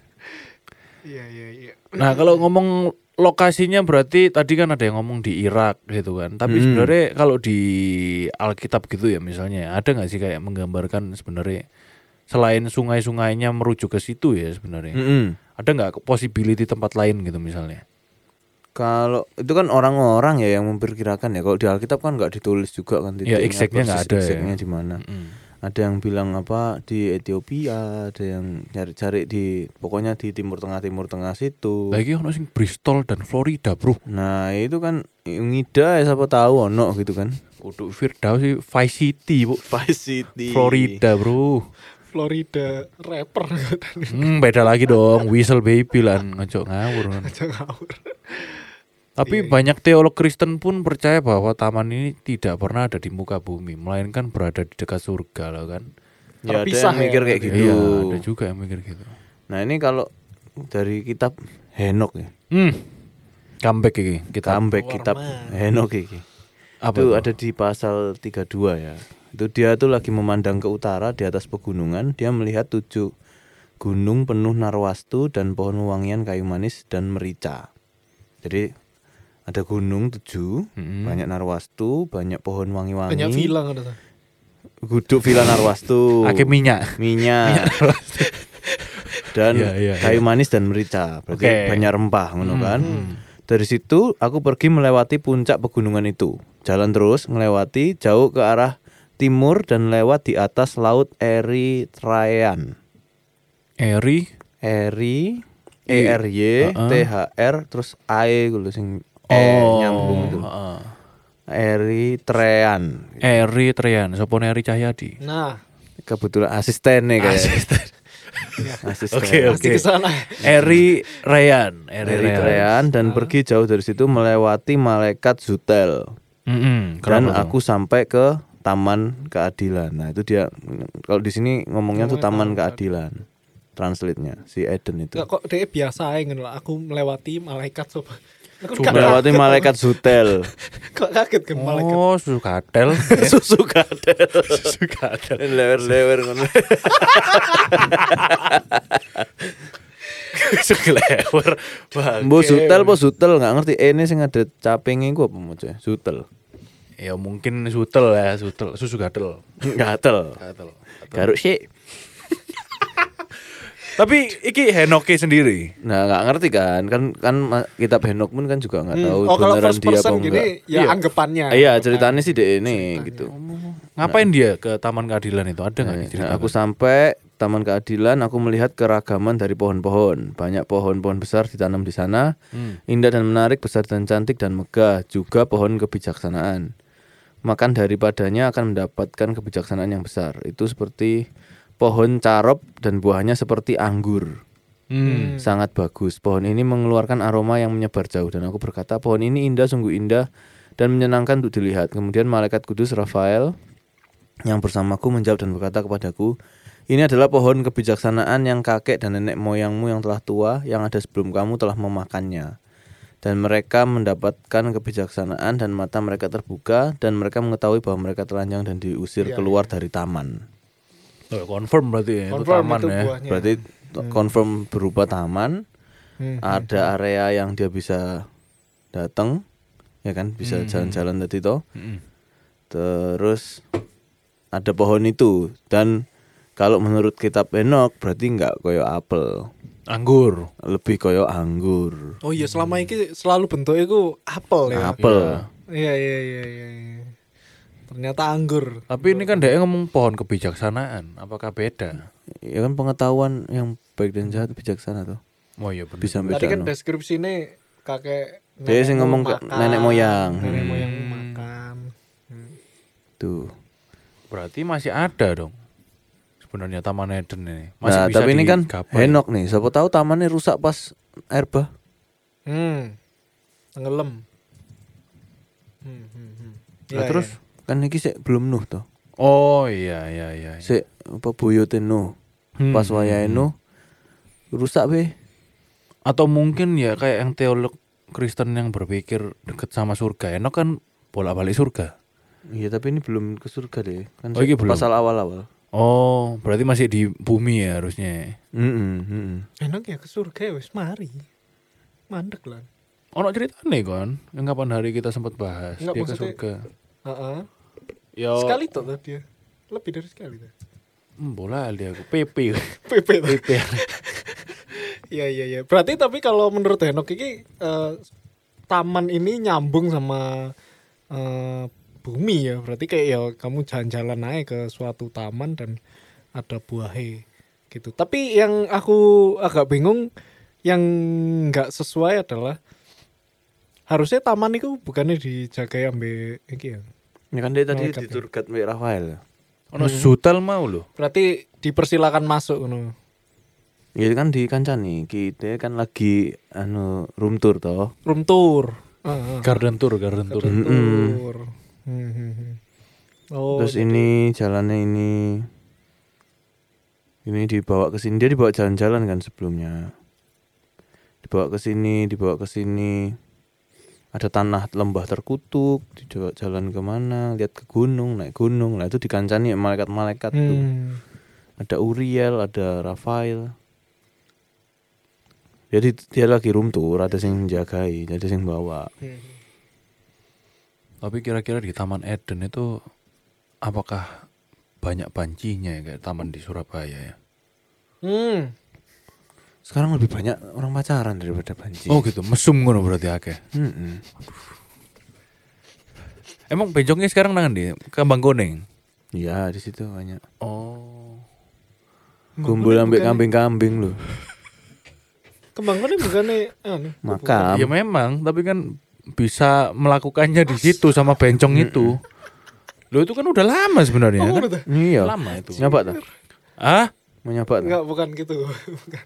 Speaker 2: Iya iya iya.
Speaker 1: Nah, kalau ngomong lokasinya berarti tadi kan ada yang ngomong di Irak gitu kan. Tapi
Speaker 3: Hmm.
Speaker 1: sebenarnya kalau di Alkitab gitu ya misalnya, ada nggak sih kayak menggambarkan sebenarnya selain sungai-sungainya merujuk ke situ ya sebenarnya.
Speaker 3: Mm-mm.
Speaker 1: Ada nggak possibility tempat lain gitu misalnya?
Speaker 3: Kalau itu kan orang-orang ya yang memperkirakan ya. Kalau di Alkitab kan nggak ditulis juga kan.
Speaker 1: Ya,
Speaker 3: titiknya
Speaker 1: exact-nya nggak
Speaker 3: persis
Speaker 1: ada ya.
Speaker 3: exact-nya di mana. Ada yang bilang apa di Ethiopia, ada yang cari-cari di pokoknya di Timur Tengah Timur Tengah situ.
Speaker 1: Lagi ono sing Bristol dan Florida, Bro.
Speaker 3: Nah itu kan ngida ya siapa tahu ono gitu kan.
Speaker 1: Kudu Firdaus sih Vice City, Bu.
Speaker 3: Vice City.
Speaker 1: Florida, Bro.
Speaker 2: Florida rapper katanya.
Speaker 1: Hmm, beda lagi dong. Whistle baby lan ngajak ngawur. kan.
Speaker 2: Jangan ngawur.
Speaker 1: Tapi banyak teolog Kristen pun percaya bahwa taman ini tidak pernah ada di muka bumi, melainkan berada di dekat surga lah kan.
Speaker 3: Ya ada
Speaker 2: Terpisah
Speaker 3: yang mikir
Speaker 2: ya.
Speaker 3: kayak gitu.
Speaker 1: Iya, ada juga yang mikir gitu.
Speaker 3: Nah ini kalau dari kitab Henok ya.
Speaker 1: Hmm. Comeback iki kita.
Speaker 3: comeback kitab Henok iki.
Speaker 1: Apa
Speaker 3: itu
Speaker 1: itu?
Speaker 3: ada di pasal 32 ya. Itu dia tuh lagi memandang ke utara di atas pegunungan, dia melihat tujuh gunung penuh narwastu dan pohon wangian kayu manis dan merica. Jadi ada gunung tujuh,
Speaker 1: Mm-mm.
Speaker 3: banyak narwastu, banyak pohon wangi-wangi,
Speaker 2: Banyak villa nggak ada.
Speaker 3: guduk villa narwastu,
Speaker 1: Pakai minyak.
Speaker 3: minyak, dan
Speaker 1: Iya, iya,
Speaker 3: kayu manis dan merica.
Speaker 1: Oke.
Speaker 3: Berarti
Speaker 1: Hmm,
Speaker 3: banyak rempah, ngono kan? Dari situ aku pergi melewati puncak pegunungan itu. Jalan terus melewati jauh ke arah timur dan lewat di atas laut Eritrean.
Speaker 1: Eri.
Speaker 3: Eri E R Y T H R terus AE gitu sing E nyambung itu.
Speaker 1: Oh, heeh.
Speaker 3: Eritrean.
Speaker 1: Eri Trian, Sopo Eri Cahyadi.
Speaker 2: Nah,
Speaker 3: Kebetulan asistennya kayak. Asisten. Asisten.
Speaker 2: pasti ke sana.
Speaker 1: Eri Ryan, Eri Ryan.
Speaker 3: Eritrean dan pergi jauh dari situ melewati malaikat Zutel.
Speaker 1: Mm-mm,
Speaker 3: Dan
Speaker 1: kenapa tuh?
Speaker 3: aku sampai ke Taman Keadilan. Nah, itu dia kalau di sini ngomongnya tuh Taman Keadilan. Translate-nya si Eden itu.
Speaker 2: Nggak kok dia biasa aja ngono lah. Aku melewati malaikat sobat. Aku nggak
Speaker 3: Melewati malaikat Zutel.
Speaker 2: kok kaget ke malaikat.
Speaker 1: Oh, Sukatel.
Speaker 3: Susu kadel. Susu kadel. Lewer-lewer ngono.
Speaker 1: Sekelewer. Wah.
Speaker 3: Mbok Zutel apa Zutel enggak ngerti. E Ini sing ada capinge iku apa moce? Zutel.
Speaker 1: Ya mungkin Sutel ya, Sutel, Susu Gadel.
Speaker 3: Gatel.
Speaker 1: Gatel.
Speaker 3: Garuk sih.
Speaker 1: Tapi iki Henoki sendiri.
Speaker 3: Nah, nggak ngerti kan? Kan kan ma- kitab Henok pun kan juga nggak tahu
Speaker 2: oh kalau
Speaker 3: beneran
Speaker 2: first
Speaker 3: dia apa
Speaker 2: person
Speaker 3: enggak.
Speaker 2: gini ya anggapannya.
Speaker 3: Iya, ceritanya sih dek ini gitu.
Speaker 1: Ngapain dia ke Taman Keadilan itu? Ada nggak
Speaker 3: Nah,
Speaker 1: nih cerita?
Speaker 3: aku sampai Taman Keadilan, aku melihat keragaman dari pohon-pohon. Banyak pohon-pohon besar ditanam di sana, indah dan menarik, besar dan cantik dan megah. Juga pohon kebijaksanaan. Makan daripadanya akan mendapatkan kebijaksanaan yang besar. Itu seperti pohon carop dan buahnya seperti anggur.
Speaker 1: Hmm.
Speaker 3: Sangat bagus. Pohon ini mengeluarkan aroma yang menyebar jauh dan aku berkata pohon ini indah sungguh indah dan menyenangkan untuk dilihat. Kemudian malaikat kudus Rafael yang bersamaku menjawab dan berkata kepadaku, ini adalah pohon kebijaksanaan yang kakek dan nenek moyangmu yang telah tua yang ada sebelum kamu telah memakannya. Dan mereka mendapatkan kebijaksanaan dan mata mereka terbuka dan mereka mengetahui bahwa mereka telanjang dan diusir keluar dari taman.
Speaker 1: Oh, confirm berarti ya, itu
Speaker 2: Confirm
Speaker 1: taman
Speaker 2: itu
Speaker 1: ya.
Speaker 2: buahnya.
Speaker 3: Berarti confirm berupa taman.
Speaker 2: Hmm.
Speaker 3: Ada area yang dia bisa datang, ya kan? Bisa
Speaker 2: Hmm,
Speaker 3: jalan-jalan tadi toh.
Speaker 1: Mm-mm.
Speaker 3: Terus ada pohon itu dan kalau menurut kitab Enok berarti nggak koyo apel,
Speaker 1: Anggur.
Speaker 3: lebih koyo anggur.
Speaker 2: Oh iya selama ini selalu bentuknya itu apel ya.
Speaker 3: Apel.
Speaker 2: Iya iya iya iya. iya. Ternyata anggur.
Speaker 1: Tapi ini kan dia ngomong pohon kebijaksanaan. Apakah beda?
Speaker 3: Ya kan pengetahuan yang baik dan jahat bijaksana tuh.
Speaker 1: Oh iya benar.
Speaker 3: Bisa
Speaker 2: Tadi kan
Speaker 3: beda.
Speaker 2: deskripsi ini kakek
Speaker 3: Dia sih
Speaker 2: nenekmu
Speaker 3: ngomong ke
Speaker 2: makan, Hmm.
Speaker 3: nenek moyang.
Speaker 2: Nenek moyang makan. Hmm.
Speaker 3: Tuh.
Speaker 1: Berarti masih ada dong. Sebenarnya Taman Eden ini. Masih
Speaker 3: Nah,
Speaker 1: bisa
Speaker 3: tapi ini kan
Speaker 1: digapai.
Speaker 3: Henok nih. Siapa tahu tamannya rusak pas erba.
Speaker 2: Hmm. Tenggelam. Hmm, hmm, hmm.
Speaker 3: Nah,
Speaker 2: Iya,
Speaker 3: terus kan iki sik belum nuh toh.
Speaker 1: Oh iya iya iya. iya.
Speaker 3: Sik apa boyote nuh.
Speaker 1: Hmm.
Speaker 3: Pas wayahe nuh rusak be.
Speaker 1: Atau mungkin ya kayak yang teolog Kristen yang berpikir dekat sama surga. Enak kan bolak-balik surga.
Speaker 3: Iya, tapi ini belum ke surga deh. Kan
Speaker 1: Oh, iki
Speaker 3: sik
Speaker 1: belum.
Speaker 3: pasal awal-awal.
Speaker 1: Oh, berarti masih di bumi ya harusnya.
Speaker 3: Mm-mm, mm-mm.
Speaker 2: iya. Enak ya ke surga ya wis mari. Mandek lah.
Speaker 1: Ono ceritane kan, yang kapan hari kita sempat bahas
Speaker 2: Enggak,
Speaker 1: dia ke
Speaker 2: maksudnya-
Speaker 1: surga.
Speaker 2: Heeh.
Speaker 1: Yo,
Speaker 2: Sekali tuh tuh dia. Lebih dari sekali tuh.
Speaker 1: Hmm, bola dia aku PP.
Speaker 2: PP tuh. Iya iya iya. Berarti tapi kalau menurut Henok ini eh, taman ini nyambung sama eh, bumi ya. Berarti kayak ya kamu jalan-jalan naik ke suatu taman dan ada buahnya gitu. Tapi yang aku agak bingung yang nggak sesuai adalah harusnya taman itu bukannya dijaga ambil iki ya.
Speaker 3: Ya kan dia tadi
Speaker 2: Malaikat ya.
Speaker 3: diturgat Mbak Rafael.
Speaker 1: Ono sutel mau lho.
Speaker 2: Berarti dipersilakan masuk ngono.
Speaker 3: Ya kan di kancani kita kan lagi anu room tour toh.
Speaker 2: Room tour. Heeh.
Speaker 1: Garden tour, garden tour.
Speaker 2: Room
Speaker 3: Mm-mm.
Speaker 2: Hmm. tour. Hmm, hmm, hmm. Oh,
Speaker 3: Terus ini jalannya ini ini dibawa ke sini dia dibawa jalan-jalan kan sebelumnya. Dibawa ke sini, dibawa ke sini. ada tanah lembah terkutuk di jawa- jalan kemana lihat ke gunung naik gunung nah itu dikancani malaikat-malaikat tuh
Speaker 2: Hmm.
Speaker 3: ada Uriel ada Rafael jadi dia lagi room tour ada yang jagai ada yang bawa
Speaker 2: Hmm.
Speaker 1: Tapi kira-kira di Taman Eden itu apakah banyak pancinya ya kayak taman di Surabaya ya?
Speaker 2: Hmm.
Speaker 3: sekarang lebih banyak orang pacaran daripada banci
Speaker 1: Oh gitu, mesum ngono berarti akeh.
Speaker 3: Mm-mm.
Speaker 1: Emang bencongnya sekarang nangan di Kambang Kuning.
Speaker 3: Iya di situ banyak.
Speaker 1: Oh.
Speaker 3: Kumpul ambek kambing-kambing loh.
Speaker 2: Kembang kuning bukannya anu.
Speaker 3: Makam.
Speaker 1: Ya memang, tapi kan bisa melakukannya di situ sama bencong itu. Lo itu kan udah lama sebenarnya.
Speaker 2: Oh,
Speaker 1: kan?
Speaker 2: udah.
Speaker 3: Iya.
Speaker 1: Lama itu.
Speaker 3: Nyapa tuh?
Speaker 1: Ah?
Speaker 3: Mau nyapa tuh?
Speaker 2: Enggak, bukan gitu. Bukan.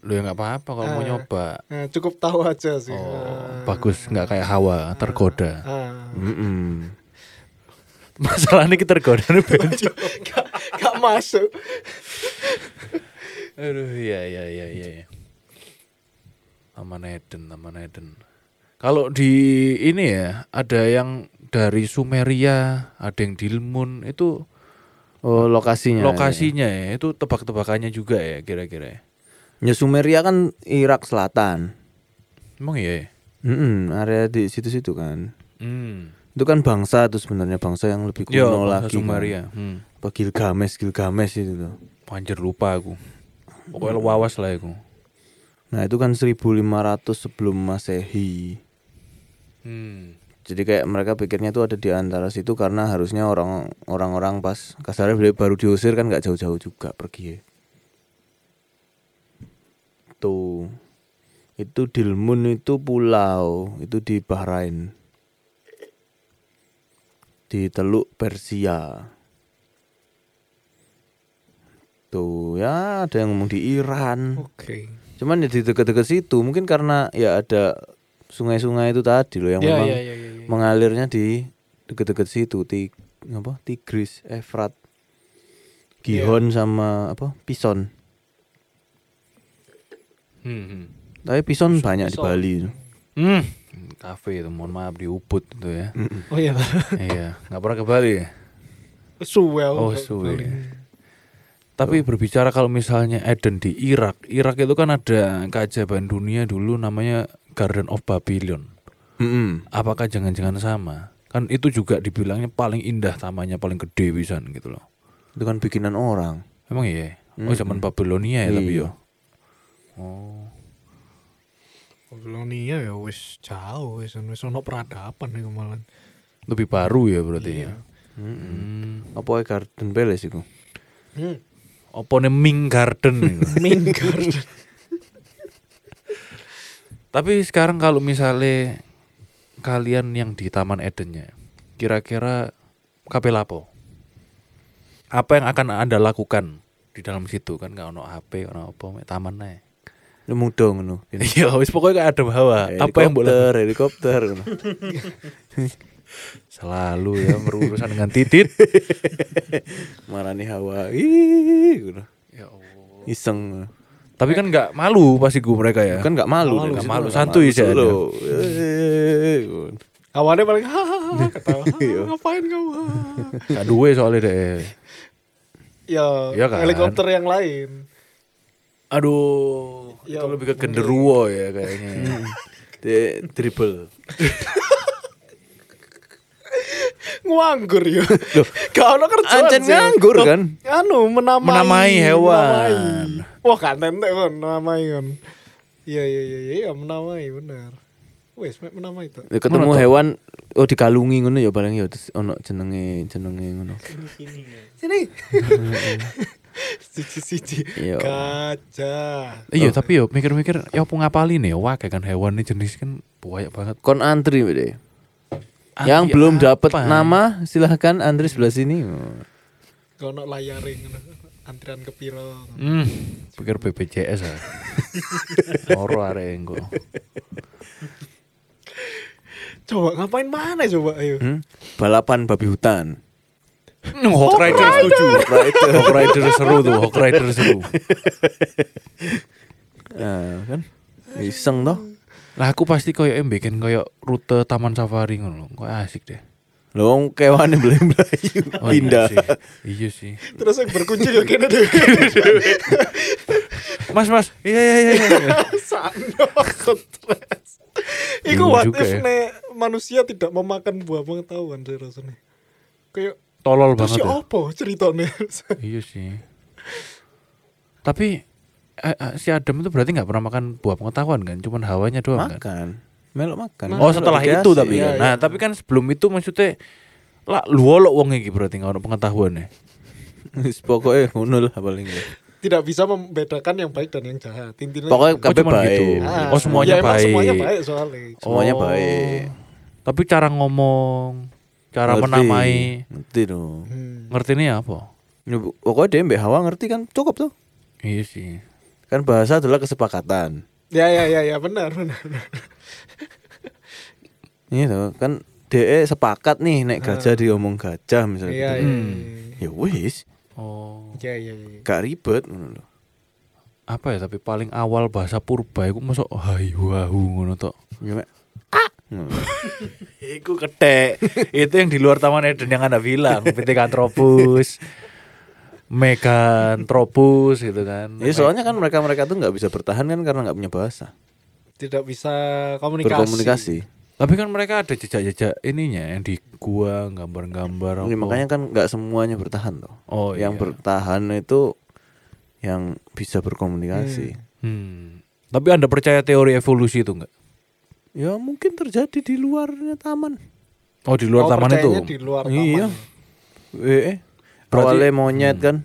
Speaker 1: Lo ya nggak apa-apa kalau mau
Speaker 2: Ah.
Speaker 1: nyoba.
Speaker 2: Nah, cukup tahu aja sih.
Speaker 1: Oh,
Speaker 2: Ah.
Speaker 1: bagus nggak kayak hawa tergoda.
Speaker 2: Ah.
Speaker 3: Mm-mm.
Speaker 1: Masalahnya kita tergoda nih bencong.
Speaker 2: Nggak- nggak masuk.
Speaker 1: Aduh, iya iya iya iya. iya. Taman Eden, Taman Eden. Kalau di ini ya, ada yang dari Sumeria, ada yang di Ilmun, itu
Speaker 3: Oh lokasinya.
Speaker 1: lokasinya ya, itu tebak-tebakannya juga ya kira-kira. ya.
Speaker 3: Ya Sumeria kan Irak Selatan.
Speaker 1: Emang iya ya?
Speaker 3: Mm-mm, area di situ-situ kan.
Speaker 1: Hmm.
Speaker 3: Itu kan bangsa tuh sebenarnya bangsa yang lebih kuno
Speaker 1: Yo, Iya, bangsa
Speaker 3: lagi. kan.
Speaker 1: Sumeria. Hmm.
Speaker 3: Apa Gilgamesh, Gilgamesh itu tuh.
Speaker 1: Anjir lupa aku. Pokoknya wawas lah aku.
Speaker 3: Nah itu kan 1500 sebelum masehi.
Speaker 1: Hmm.
Speaker 3: Jadi kayak mereka pikirnya tuh ada di antara situ karena harusnya orang orang-orang pas kasarnya beli- baru diusir kan nggak jauh-jauh juga pergi. ya. Tuh itu Dilmun itu pulau itu di Bahrain di Teluk Persia. Tuh ya ada yang ngomong di Iran.
Speaker 2: Oke.
Speaker 3: Cuman ya di dekat-dekat situ mungkin karena ya ada sungai-sungai itu tadi loh yang
Speaker 2: Ya,
Speaker 3: memang
Speaker 2: ya, ya, ya, ya.
Speaker 3: mengalirnya di dekat-dekat situ ti apa Tigris, Efrat, Gihon sama apa Pison.
Speaker 1: Hmm. hmm.
Speaker 3: Tapi Pison banyak di Bali.
Speaker 1: Hmm. Kafe itu mohon maaf di Ubud itu ya.
Speaker 2: Oh iya.
Speaker 1: iya, nggak pernah ke Bali ya?
Speaker 2: Suwe. aku
Speaker 1: Oh,
Speaker 2: nggak
Speaker 1: suwe.
Speaker 2: paling.
Speaker 1: Tapi berbicara kalau misalnya Eden di Irak, Irak itu kan ada keajaiban dunia dulu namanya Garden of Babylon.
Speaker 3: Mm-mm.
Speaker 1: Apakah jangan-jangan sama? Kan itu juga dibilangnya paling indah tamannya, paling gede pisan gitu loh.
Speaker 3: Itu kan bikinan orang.
Speaker 1: Emang iya? Oh, zaman Babilonia ya tapi yo. Oh.
Speaker 2: Babilonia ya wis jauh wis anu, wis ono peradaban iku malah.
Speaker 1: Lebih baru ya berarti ya. Hmm.
Speaker 3: Mm-mm. Apa ya Garden Palace itu?
Speaker 2: Hmm.
Speaker 1: Opone Ming Garden Gitu. itu.
Speaker 2: Main garden.
Speaker 1: Tapi sekarang kalau misalnya kalian yang di Taman Edennya, kira-kira kapelapo apa yang akan anda lakukan di dalam situ kan nggak ono HP, nggak ono apa, mek taman ae.
Speaker 3: Lu muda ngono. Gini.
Speaker 1: Iya, wis pokoknya kayak ada bawa.
Speaker 3: Eh,
Speaker 1: Apa yang boleh
Speaker 3: Helikopter, helikopter. ngono.
Speaker 1: selalu ya berurusan dengan titit.
Speaker 3: Marani hawa. Ih, ngono.
Speaker 1: ya Allah.
Speaker 3: Iseng. ngono.
Speaker 1: Tapi kan nggak malu pasti gue mereka ya.
Speaker 3: Kan nggak malu,
Speaker 1: Nggak
Speaker 3: di situ
Speaker 1: malu,
Speaker 3: nggak
Speaker 1: santuy
Speaker 3: malu.
Speaker 1: saja.
Speaker 3: Lo, eh, ngono.
Speaker 2: Awalnya paling hahaha ketawa.
Speaker 1: Iya.
Speaker 2: "Hahaha, Ngapain kamu? Hahaha."
Speaker 1: Gak duwe soalnya deh.
Speaker 2: ya,
Speaker 1: Iya kan?
Speaker 2: helikopter yang lain.
Speaker 1: Aduh,
Speaker 2: Ya,
Speaker 1: itu lebih ke genderuwo ya kayaknya.
Speaker 3: Di- dribble.
Speaker 2: Nganggur ya. Gak ono kerjaan.
Speaker 3: Ancen
Speaker 2: sih.
Speaker 3: nganggur,
Speaker 2: Loh,
Speaker 3: kan?
Speaker 2: Anu menamai
Speaker 1: Menamai hewan.
Speaker 2: menamai. Wah, kan tente kan menamai kan. Iya iya iya iya menamai bener. Wes mek menamai itu.
Speaker 3: Ya, ketemu
Speaker 1: Mana toh?
Speaker 3: hewan oh dikalungi ngono ya paling ya terus ono jenenge jenenge ngono.
Speaker 2: Sini. Siji-siji
Speaker 3: Iya.
Speaker 2: gajah.
Speaker 1: Iya tapi yo mikir-mikir ya apa ngapalin ya wah kayak kan hewan ini jenis kan banyak banget.
Speaker 3: Kon antri Bede.
Speaker 1: Antri
Speaker 3: Yang belum dapat
Speaker 1: apa?
Speaker 3: nama silahkan antri sebelah sini.
Speaker 2: Gak ono layare ngono. Antrian kepiro.
Speaker 1: Hmm, pikir BPJS ah. Loro arek engko.
Speaker 2: Coba ngapain mana coba ayo.
Speaker 3: Hmm? Balapan babi hutan.
Speaker 1: Hawk Rider setuju. Hawk Rider seru tuh, Hawk Rider seru.
Speaker 3: Nah, kan iseng toh.
Speaker 1: Lah aku pasti koyo em bikin koyo rute taman safari ngono lho. Koyo asik deh.
Speaker 3: Lo kewan yang belum melayu
Speaker 1: Oh,
Speaker 3: pindah.
Speaker 1: Iya sih. Iya sih.
Speaker 2: Terus yang berkunci ya kene deh.
Speaker 1: Mas, Mas. Iya iya iya. iya.
Speaker 2: Sano stres. Iku
Speaker 1: Bingung
Speaker 2: what
Speaker 1: juga
Speaker 2: if
Speaker 1: ya.
Speaker 2: nek manusia tidak memakan buah pengetahuan saya rasanya. Kayak
Speaker 1: Tolol
Speaker 2: terus
Speaker 1: banget.
Speaker 2: ya
Speaker 1: ya.
Speaker 2: apa ceritanya?
Speaker 1: Iya sih. Tapi eh, eh, si Adam itu berarti nggak pernah makan buah pengetahuan kan? Cuman hawanya doang kan?
Speaker 3: Makan. Melok makan. iya,
Speaker 1: Oh setelah
Speaker 3: Melok
Speaker 1: itu tapi
Speaker 3: dikasih.
Speaker 1: kan. Nah tapi kan sebelum itu maksudnya lah lu wolok wong iki berarti nggak ada pengetahuannya.
Speaker 3: Wis Pokoknya ngono lah paling. nggak.
Speaker 2: tidak bisa membedakan yang baik dan yang jahat. Intinya
Speaker 3: Pokoknya
Speaker 1: Oh,
Speaker 3: kabeh
Speaker 1: cuman
Speaker 3: baik.
Speaker 1: gitu.
Speaker 2: Ah,
Speaker 1: Oh, semuanya
Speaker 2: ya emang
Speaker 1: baik.
Speaker 2: Semuanya baik soalnya.
Speaker 3: Semuanya
Speaker 1: Oh.
Speaker 3: baik.
Speaker 1: Tapi cara ngomong, cara
Speaker 3: Ngerti.
Speaker 1: menamai,
Speaker 3: Ngerti dong.
Speaker 2: Hmm.
Speaker 1: ngerti ini apa?
Speaker 3: Ya, bu- Pokoknya dia mbak Hawa ngerti kan cukup tuh.
Speaker 1: Iya sih.
Speaker 3: Kan bahasa adalah kesepakatan.
Speaker 2: Ya ya ya ya benar benar. benar.
Speaker 3: Iya tuh kan DE sepakat nih nek
Speaker 1: Ah.
Speaker 3: gajah diomong gajah misalnya.
Speaker 2: Iya
Speaker 3: gitu.
Speaker 2: iya.
Speaker 1: Hmm.
Speaker 3: Ya wis,
Speaker 1: Oh
Speaker 2: Iya iya iya.
Speaker 3: gak ribet ngono lho.
Speaker 1: apa ya? Tapi paling awal bahasa purba, aku masuk hai wahu ngono tok.
Speaker 3: Ya Mek. Ngono.
Speaker 1: Iku ketek. itu yang di luar Taman Eden yang Anda bilang, Pithecanthropus. Meganthropus gitu kan.
Speaker 3: Ya soalnya kan mereka-mereka tuh nggak bisa bertahan kan karena nggak punya bahasa.
Speaker 2: Tidak bisa komunikasi.
Speaker 3: Berkomunikasi.
Speaker 1: Tapi kan mereka ada jejak-jejak ininya yang di gua gambar-gambar. apa.
Speaker 3: Ya, makanya kan nggak semuanya bertahan toh.
Speaker 1: Oh,
Speaker 3: yang
Speaker 1: iya.
Speaker 3: bertahan itu yang bisa berkomunikasi.
Speaker 1: Hmm. Tapi Anda percaya teori evolusi itu enggak?
Speaker 3: Ya mungkin terjadi di luarnya taman.
Speaker 1: Oh, di luar
Speaker 2: Oh,
Speaker 1: taman itu.
Speaker 2: percayanya di luar taman.
Speaker 3: Iya. Eh, eh.
Speaker 1: Berarti-
Speaker 3: Awalnya monyet kan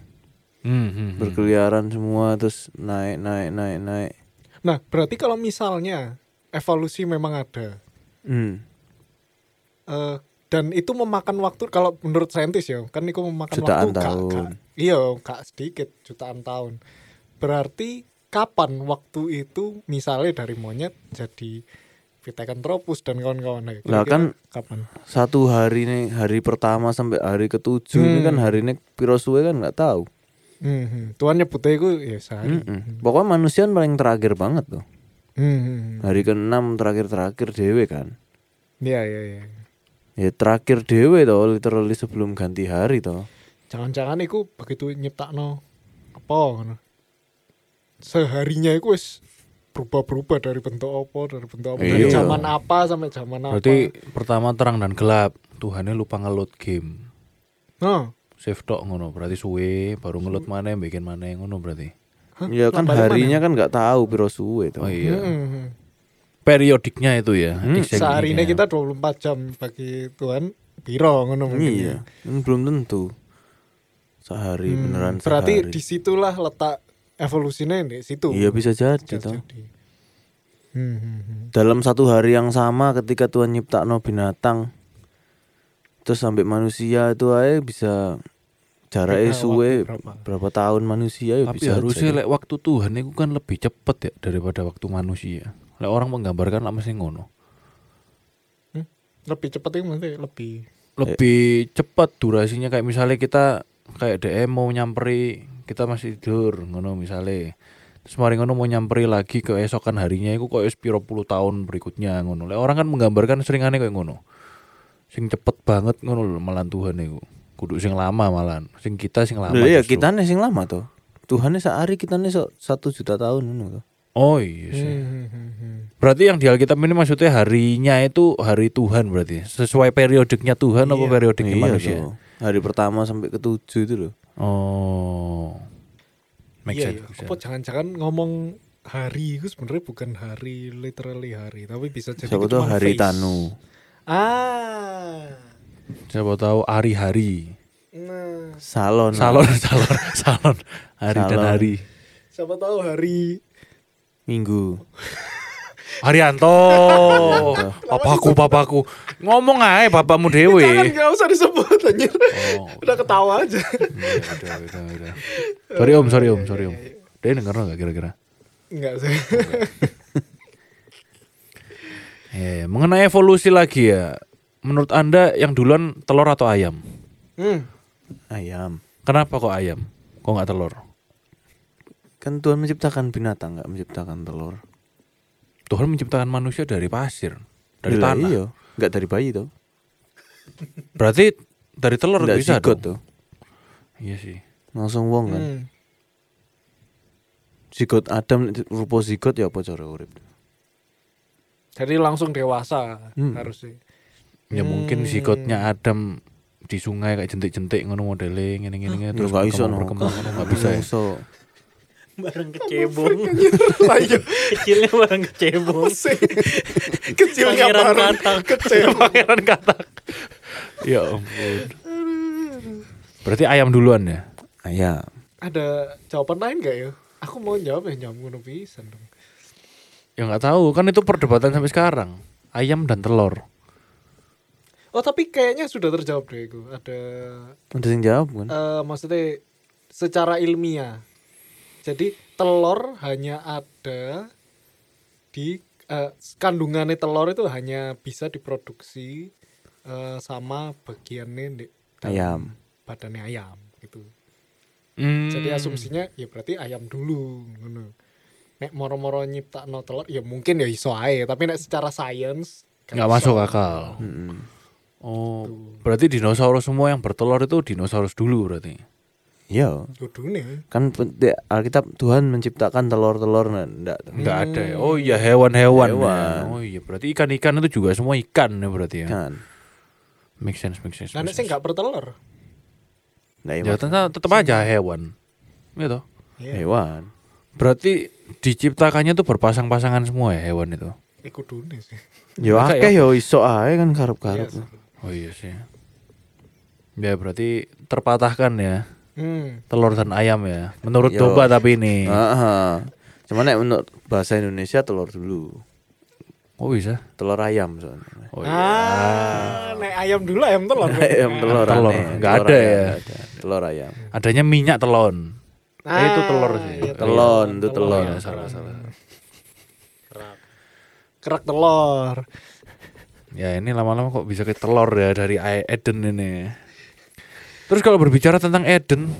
Speaker 1: Hmm, hmm, hmm.
Speaker 3: berkeliaran semua terus naik naik naik naik.
Speaker 2: Nah, berarti kalau misalnya evolusi memang ada
Speaker 3: Hmm.
Speaker 2: eh, dan itu memakan waktu kalau menurut saintis ya, kan itu memakan
Speaker 3: Jutaan
Speaker 2: waktu gak-
Speaker 3: tahun.
Speaker 2: gak- iya, gak sedikit jutaan tahun. Berarti kapan waktu itu misalnya dari monyet jadi Pithecanthropus dan kawan-kawan Nah,
Speaker 3: Lah,
Speaker 2: kira-kira
Speaker 3: kan-
Speaker 2: kapan?
Speaker 3: Satu hari nih hari pertama sampai hari ketujuh ini kan hari ini piro suwe kan nggak tahu.
Speaker 2: Hmm, Tuhan nyebutnya itu ya sehari.
Speaker 3: Mm-mm. Pokoknya manusia paling terakhir banget tuh.
Speaker 2: Hmm,
Speaker 3: Hari keenam terakhir terakhir dewe kan.
Speaker 2: Iya, iya, iya.
Speaker 3: Ya terakhir dewe toh literally sebelum ganti hari toh.
Speaker 2: Jangan-jangan itu begitu nyiptakno apa ngono. Seharinya itu wis berubah-berubah dari bentuk apa, dari bentuk apa, dari
Speaker 3: Iya.
Speaker 2: zaman apa sampai zaman apa.
Speaker 1: Berarti pertama terang dan gelap. Tuhannya lupa ngeload game.
Speaker 2: Nah,
Speaker 1: Save tok ngono, berarti suwe baru ngeload mana bikin mana ngono berarti.
Speaker 2: Hah?
Speaker 3: Ya kan
Speaker 2: Lambai
Speaker 3: harinya kan nggak tahu piro suwe toh.
Speaker 1: Oh iya.
Speaker 2: hmm.
Speaker 1: Periodiknya itu ya.
Speaker 3: Hmm,
Speaker 2: seharinya
Speaker 1: kita
Speaker 2: kita 24 jam bagi Tuhan piro ngono mungkin.
Speaker 3: Iya,
Speaker 2: ya.
Speaker 3: kan belum tentu. Sehari beneran
Speaker 2: Hmm. Berarti
Speaker 3: sehari.
Speaker 2: disitulah letak evolusinya di situ.
Speaker 3: Iya bisa jadi
Speaker 2: Jadi-
Speaker 3: toh.
Speaker 2: Hmm, hmm, hmm.
Speaker 3: Dalam satu hari yang sama ketika Tuhan nyiptakno binatang terus sampai manusia itu aja bisa jaraknya
Speaker 2: Beda
Speaker 3: suwe
Speaker 2: waktu berapa?
Speaker 3: berapa? tahun manusia ya
Speaker 1: Tapi
Speaker 3: bisa
Speaker 1: harusnya
Speaker 3: jadi.
Speaker 1: lek waktu Tuhan itu kan lebih cepet ya daripada waktu manusia. Lek orang menggambarkan lah mesti ngono.
Speaker 2: Hmm? Lebih cepat itu maksudnya lebih.
Speaker 1: Lebih cepet durasinya kayak misalnya kita kayak DM mau nyamperi kita masih tidur ngono misalnya. Terus mari ngono mau nyamperi lagi keesokan harinya itu kok wis piro puluh tahun berikutnya ngono. Lek orang kan menggambarkan seringannya kayak ngono. Sing cepet banget ngono lho malan Tuhan itu. Kudu sing lama malan. Sing kita sing lama.
Speaker 3: Lah ya
Speaker 1: justru.
Speaker 3: kita sing lama toh. Tuhannya sehari kita nih satu juta tahun ini toh.
Speaker 1: Oh iya sih.
Speaker 2: Hmm, hmm, hmm, hmm.
Speaker 1: Berarti yang di Alkitab ini maksudnya harinya itu hari Tuhan berarti sesuai periodiknya Tuhan apa periodiknya
Speaker 3: Iya
Speaker 1: manusia?
Speaker 3: toh. Hari pertama sampai ketujuh itu loh.
Speaker 1: Oh, make
Speaker 2: iya,
Speaker 1: sense.
Speaker 2: iya.
Speaker 1: make sense.
Speaker 2: Apa jangan-jangan ngomong hari itu sebenarnya bukan hari literally hari, tapi bisa jadi
Speaker 3: Siapa
Speaker 2: itu
Speaker 3: tuh
Speaker 2: cuma
Speaker 3: hari
Speaker 2: phase.
Speaker 3: Tanu.
Speaker 2: Ah.
Speaker 1: Siapa tahu hari-hari,
Speaker 2: Nah,
Speaker 3: Salon.
Speaker 1: salon, salon, salon, hari dan
Speaker 3: Salon.
Speaker 1: hari.
Speaker 2: siapa tahu hari
Speaker 3: Minggu.
Speaker 1: Haryanto,
Speaker 3: Iya.
Speaker 1: papaku, papaku, ngomong aja bapakmu
Speaker 2: Eh, Jangan
Speaker 3: Iya,
Speaker 1: dewe.
Speaker 2: nggak usah disebut anjir.
Speaker 1: Oh,
Speaker 2: Udah ketawa aja.
Speaker 1: iya, udah, udah, udah. Sorry om, sorry om, sorry om. Dia denger nggak kira-kira?
Speaker 2: Enggak sih.
Speaker 1: Ya, ya. mengenai evolusi lagi ya. Menurut Anda yang duluan telur atau ayam?
Speaker 2: Hmm.
Speaker 3: Ayam.
Speaker 1: Kenapa kok ayam? Kok nggak telur?
Speaker 3: Kan Tuhan menciptakan binatang nggak menciptakan telur.
Speaker 1: Tuhan menciptakan manusia dari pasir, dari
Speaker 3: Lah,
Speaker 1: tanah.
Speaker 3: iya. Enggak dari bayi tuh.
Speaker 1: Berarti dari telur
Speaker 3: Enggak
Speaker 1: bisa
Speaker 3: zigot
Speaker 1: dong.
Speaker 3: tuh.
Speaker 1: Iya sih.
Speaker 3: Langsung wong kan.
Speaker 2: Hmm.
Speaker 3: Zigot Adam rupa zigot ya apa cara urip?
Speaker 2: Jadi langsung dewasa
Speaker 3: Hmm.
Speaker 2: harusnya.
Speaker 1: Ya mungkin sikotnya Adam di sungai kayak jentik-jentik ngono modeling ngene ngene ngene, Ya, terus
Speaker 3: Terus enggak Ya, iso no.
Speaker 1: berkembang ngono enggak bisa.
Speaker 3: Nggak
Speaker 1: ya.
Speaker 3: iso.
Speaker 4: Barang kecebong.
Speaker 2: Lah, iya.
Speaker 4: Kecilnya barang kecebong.
Speaker 2: Kecilnya
Speaker 4: Pangeran
Speaker 2: baru
Speaker 4: Katak.
Speaker 2: kecil.
Speaker 1: Pangeran katak. ya ampun. Berarti ayam duluan ya?
Speaker 3: Ah, ya.
Speaker 2: Ada jawaban lain gak ya? Aku mau jawab ya jawab ngono pisan dong.
Speaker 1: Ya nggak tahu, kan itu perdebatan sampai sekarang. Ayam dan telur.
Speaker 2: Oh tapi kayaknya sudah terjawab deh itu. Ada
Speaker 3: Ada yang jawab kan?
Speaker 2: eh, maksudnya secara ilmiah. Jadi telur hanya ada di eh, kandungannya telur itu hanya bisa diproduksi eh, sama bagiannya di dalam
Speaker 3: Ayam.
Speaker 2: badannya ayam gitu.
Speaker 1: Hmm.
Speaker 2: Jadi asumsinya ya berarti ayam dulu ngono. Nek moro-moro nyiptakno telur ya mungkin ya iso ae, tapi nek secara sains
Speaker 1: nggak masuk akal.
Speaker 3: Mm-mm.
Speaker 1: Oh, berarti dinosaurus semua yang bertelur itu dinosaurus dulu berarti.
Speaker 3: Iya.
Speaker 2: Kudune.
Speaker 3: Kan pe- di Alkitab Tuhan menciptakan telur-telur nah, enggak. tuh.
Speaker 1: Enggak ada ya. Oh iya hewan-hewan.
Speaker 3: Hewan.
Speaker 1: ya. Oh iya berarti ikan-ikan itu juga semua ikan ya berarti ya.
Speaker 3: Kan.
Speaker 1: Make sense, make sense.
Speaker 2: Nah
Speaker 1: make
Speaker 2: nek sing
Speaker 1: sense.
Speaker 2: gak bertelur.
Speaker 3: Nah, iya,
Speaker 1: Ya
Speaker 3: Mas.
Speaker 1: tetap, tetap aja hewan. Gitu.
Speaker 2: Iya,
Speaker 3: hewan.
Speaker 1: Berarti diciptakannya tuh berpasang-pasangan semua ya hewan itu.
Speaker 2: eh kudune sih.
Speaker 3: Yo
Speaker 1: Masa
Speaker 3: Ya, akeh yo iso ae kan karep-karep.
Speaker 2: Iya,
Speaker 1: Oh iya sih. Ya berarti terpatahkan ya
Speaker 2: Hmm.
Speaker 1: telur dan ayam ya. Menurut
Speaker 3: Yo.
Speaker 1: domba tapi ini.
Speaker 3: Heeh. Cuman nek menurut bahasa Indonesia telur dulu.
Speaker 1: Oh bisa.
Speaker 3: Telur ayam soalnya.
Speaker 1: Oh iya.
Speaker 2: Ah, nek ayam dulu ayam telur.
Speaker 3: ayam telur,
Speaker 1: Telur,
Speaker 3: aneh.
Speaker 1: nggak
Speaker 3: Telur
Speaker 1: ada
Speaker 3: ayam,
Speaker 1: ya.
Speaker 3: nggak ada. Telur ayam.
Speaker 1: Adanya minyak telon. eh, itu telur sih.
Speaker 2: iya,
Speaker 3: Telon, itu telur.
Speaker 1: ya, salah salah.
Speaker 2: Kerak telur.
Speaker 1: Ya ini lama-lama kok bisa ke telur ya dari ay- Eden ini. Terus kalau berbicara tentang Eden,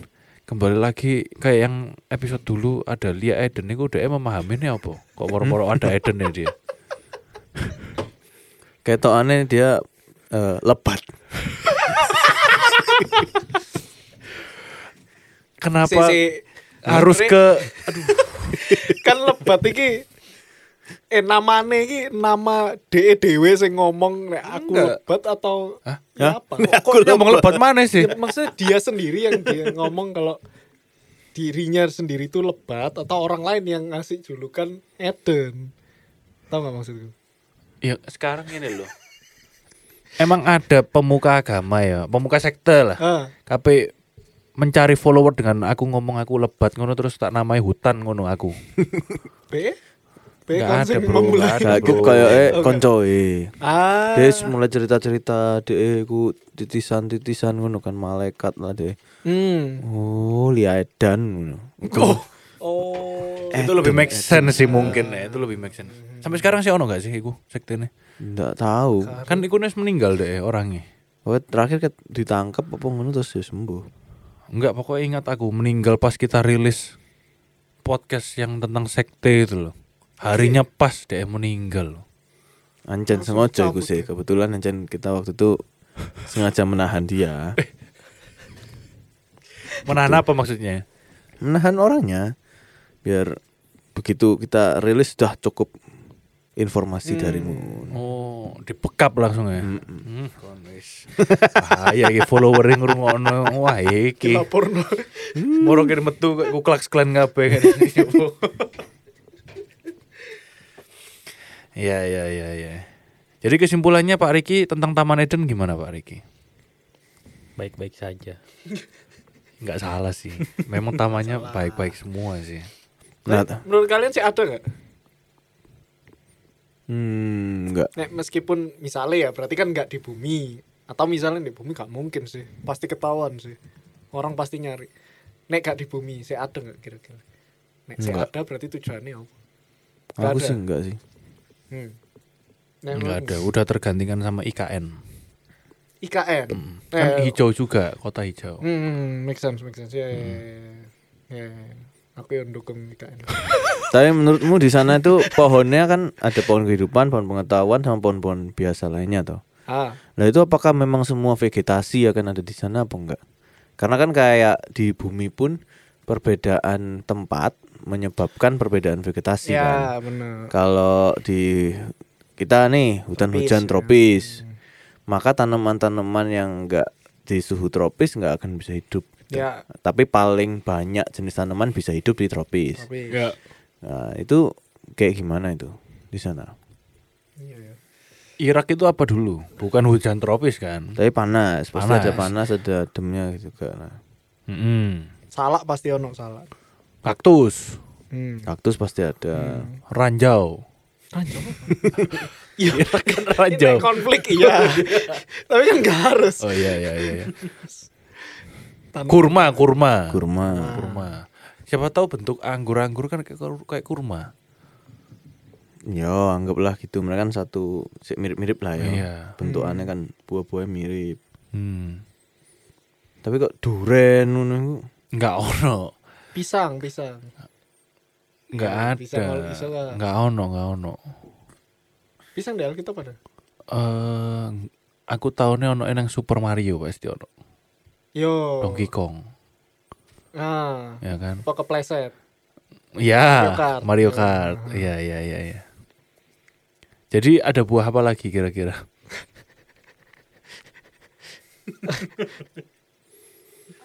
Speaker 1: kembali lagi kayak yang episode dulu ada Lia Eden itu udah memahaminya apa? Kok moro-moro ada Eden ya dia?
Speaker 3: Ketokannya dia eh, lebat.
Speaker 1: Kenapa
Speaker 2: Si- si-
Speaker 1: harus
Speaker 2: Andre-
Speaker 1: ke
Speaker 2: kan lebat iki eh namane iki nama DE dhewe sing ngomong nek aku lebat atau ya apa? Kok-
Speaker 1: aku ngomong lebat mana sih?
Speaker 2: ya, maksudnya dia sendiri yang dia ngomong kalau dirinya sendiri itu lebat atau orang lain yang ngasih julukan Eden. Tahu nggak maksudku?
Speaker 1: Ya sekarang ini loh. Emang ada pemuka agama ya, pemuka sekte lah.
Speaker 2: Ah,
Speaker 1: KP mencari follower dengan aku ngomong aku lebat ngono terus tak namai hutan ngono aku.
Speaker 2: B B
Speaker 1: Nggak
Speaker 2: kan
Speaker 1: ada,
Speaker 2: sing
Speaker 1: bro,
Speaker 2: memulai.
Speaker 1: nggak ada.
Speaker 3: Sakit
Speaker 1: Bro.
Speaker 3: kayak eh
Speaker 2: Oke.
Speaker 3: koncoe.
Speaker 2: Ah,
Speaker 3: Dia mulai cerita-cerita dia ku titisan-titisan ngono kan malaikat lah dia.
Speaker 2: hmm.
Speaker 3: Oh, liadan ngono.
Speaker 2: Oh,
Speaker 1: itu lebih make sense sih mungkin ya, itu lebih make sense. Sampai sekarang sih ono gak sih iku sektene?
Speaker 3: Enggak tahu.
Speaker 1: Kan iku nes meninggal deh orangnya.
Speaker 3: Oh, terakhir ket- ditangkap apa ngono terus dia sembuh.
Speaker 1: Enggak pokoknya ingat aku meninggal pas kita rilis podcast yang tentang sekte itu loh. Harinya pas dia meninggal loh.
Speaker 3: Ancan sengaja iku
Speaker 2: ya?
Speaker 3: sih. Kebetulan Ancan kita waktu itu sengaja menahan dia.
Speaker 2: Eh.
Speaker 1: Menahan apa maksudnya?
Speaker 3: Menahan orangnya biar begitu kita rilis sudah cukup informasi
Speaker 2: Hmm.
Speaker 3: darimu.
Speaker 1: Oh, dipekap langsung ya. Hmm, kon wis. Bahaya iki follower yang ngrungokno. Wah, iki.
Speaker 2: porno.
Speaker 1: Moro kene metu kok kuklaks klan kabeh. Ya ya ya ya. Jadi kesimpulannya Pak Riki tentang Taman Eden gimana Pak Riki?
Speaker 4: Baik-baik saja.
Speaker 1: Nggak salah sih. Memang tamannya baik-baik semua sih.
Speaker 3: Nah,
Speaker 2: Menurut kalian sih ada nggak?
Speaker 3: hmm, enggak.
Speaker 2: Nek meskipun misalnya ya berarti kan nggak di bumi atau misalnya di bumi nggak mungkin sih pasti ketahuan sih orang pasti nyari nek nggak di bumi saya ada nggak kira-kira nek saya
Speaker 3: Nggak.
Speaker 2: ada berarti tujuannya apa Nggak
Speaker 3: Aku
Speaker 2: ada.
Speaker 3: sih enggak sih.
Speaker 2: hmm. Nek
Speaker 1: Nggak ada,
Speaker 2: menurutmu?
Speaker 1: udah tergantikan sama IKN.
Speaker 2: IKN
Speaker 1: Kan
Speaker 2: Eh,
Speaker 1: hijau juga, kota hijau. Hmm.
Speaker 2: hmm, make sense make sense ya ya, ya, ya. aku yang dukung IKN
Speaker 3: Tapi menurutmu di sana itu pohonnya kan ada pohon kehidupan, pohon pengetahuan sama pohon-pohon biasa lainnya toh.
Speaker 2: Ah,
Speaker 3: Nah itu apakah memang semua vegetasi akan ada di sana apa enggak? Karena kan kayak di bumi pun perbedaan tempat menyebabkan perbedaan vegetasi kan.
Speaker 2: ya benar.
Speaker 3: Kalau di kita nih hutan
Speaker 2: Tropis,
Speaker 3: hujan
Speaker 2: ya.
Speaker 3: tropis, maka tanaman-tanaman yang enggak di suhu tropis enggak akan bisa hidup. gitu.
Speaker 2: Ya.
Speaker 3: Tapi paling banyak jenis tanaman bisa hidup di tropis.
Speaker 2: Tapi
Speaker 3: Nah, itu kayak gimana itu di sana?
Speaker 2: iya, ya.
Speaker 1: Irak itu apa dulu? Bukan hujan tropis kan?
Speaker 3: Tapi panas, pasti ada
Speaker 1: Panas.
Speaker 3: panas, ada ademnya juga. Nah,
Speaker 1: Mm-mm.
Speaker 2: Salak pasti ono salak.
Speaker 1: Kaktus,
Speaker 2: Hmm.
Speaker 3: kaktus pasti ada.
Speaker 1: Hmm. ranjau. Ranjau? Irak kan ranjau.
Speaker 2: Iya. Ini konflik iya. Tapi kan nggak harus.
Speaker 1: Oh iya iya iya. iya. Kurma, kurma.
Speaker 3: Kurma.
Speaker 1: Kurma. Siapa tahu bentuk anggur-anggur kan kayak kur- kayak kurma.
Speaker 3: Yo, anggaplah gitu. Mereka kan satu si- mirip-mirip lah ya.
Speaker 1: Iya.
Speaker 3: Bentukannya kan buah-buahnya mirip.
Speaker 1: Hmm.
Speaker 3: Tapi kok duren ngono iku?
Speaker 1: Enggak ono.
Speaker 2: Pisang, pisang.
Speaker 1: Enggak
Speaker 2: Ya,
Speaker 1: ada.
Speaker 2: bisa kalau bisa lah.
Speaker 1: Enggak ono, enggak ono.
Speaker 2: Pisang di Alkitab ada.
Speaker 1: Eh aku tahunya ono nang Super Mario pasti ono.
Speaker 2: Yo.
Speaker 1: Donkey Kong,
Speaker 2: Nah,
Speaker 1: ya kan?
Speaker 2: kok kepleset.
Speaker 1: Ya,
Speaker 2: Kart.
Speaker 1: Mario Kart. Iya, iya, iya, iya. Jadi ada buah apa lagi kira-kira?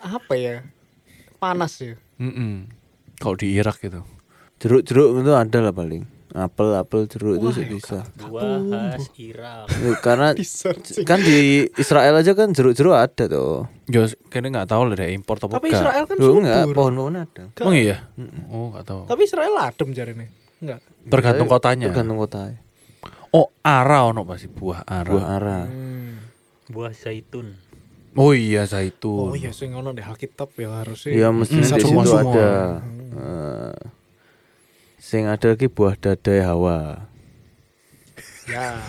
Speaker 2: Apa ya? Panas ya.
Speaker 1: Mm-mm. Kalau di Irak gitu.
Speaker 3: Jeruk-jeruk itu ada lah paling. Apel, apel, jeruk itu sih bisa.
Speaker 4: Dua khas Irak.
Speaker 3: Loh, Karena
Speaker 2: Searching.
Speaker 3: kan di Israel aja kan jeruk-jeruk ada tuh.
Speaker 1: Yo, kayaknya nggak tahu lah deh impor atau
Speaker 2: Tapi
Speaker 1: enggak.
Speaker 2: Israel kan
Speaker 3: Loh, enggak,
Speaker 2: subur.
Speaker 3: pohon-pohon ada.
Speaker 1: Emang iya? Oh, nggak tahu.
Speaker 2: Tapi Israel adem jarene. Enggak.
Speaker 1: Tergantung
Speaker 3: Tapi
Speaker 1: kotanya.
Speaker 3: Iya, Tergantung iya. kotanya.
Speaker 1: Oh, ara ono pasti buah ara.
Speaker 3: Buah ara.
Speaker 2: Nah. Hmm.
Speaker 4: Buah zaitun.
Speaker 1: Oh iya, zaitun.
Speaker 2: Oh iya sing ono di Alkitab ya harusnya.
Speaker 3: Iya mestinya
Speaker 1: Hmm,
Speaker 3: di
Speaker 1: semua-
Speaker 3: situ
Speaker 1: semua.
Speaker 3: ada. Eh, sing ada lagi buah dadai hawa.
Speaker 2: Ya.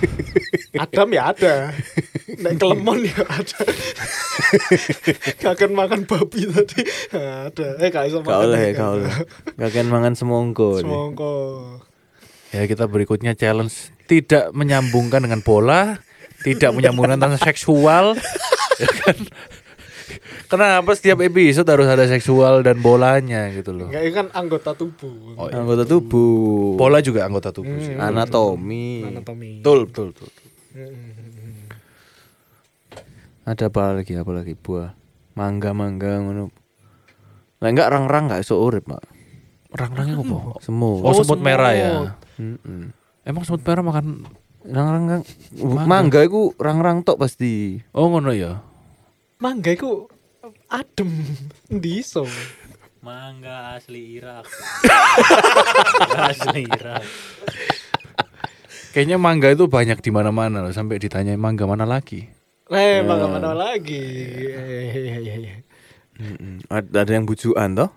Speaker 2: Adam ya ada. Nek kelemon ya ada. Gak akan makan babi tadi. Ada. Eh gak bisa
Speaker 3: Gak
Speaker 2: makan.
Speaker 3: oleh, gak oleh. Gak akan mangan semongko. nih.
Speaker 2: Semongko.
Speaker 1: Ya, kita berikutnya challenge tidak menyambungkan dengan bola, tidak menyambungkan tentang seksual. ya kan? Kenapa setiap episode harus ada seksual dan bolanya gitu loh?
Speaker 2: Enggak ini kan anggota tubuh.
Speaker 1: Oh,
Speaker 3: Anggota tubuh.
Speaker 1: Bola juga anggota
Speaker 3: Hmm.
Speaker 1: tubuh sih.
Speaker 3: Anatomi.
Speaker 2: Anatomi.
Speaker 1: Betul, betul, betul.
Speaker 3: Ada apa lagi? Apa lagi buah? Mangga, mangga ngono. Lah enggak rang-rang enggak iso urip, Pak.
Speaker 1: Rang-rangnya apa?
Speaker 3: Semut.
Speaker 1: Oh, semut merah ya.
Speaker 3: Mm-mm.
Speaker 1: Emang semut merah makan
Speaker 3: Rang-rang kan- mangga iku rang-rang tok pasti.
Speaker 1: Oh ngono ya.
Speaker 2: Mangga iku adem ndi iso.
Speaker 4: Mangga asli Irak. Mangga asli Irak.
Speaker 1: Kayaknya mangga itu banyak di mana-mana loh sampai ditanya mangga mana lagi.
Speaker 3: Ya.
Speaker 2: Eh, mangga mana lagi? Hehehe.
Speaker 3: Mm-mm. Ada ada yang bujukan toh?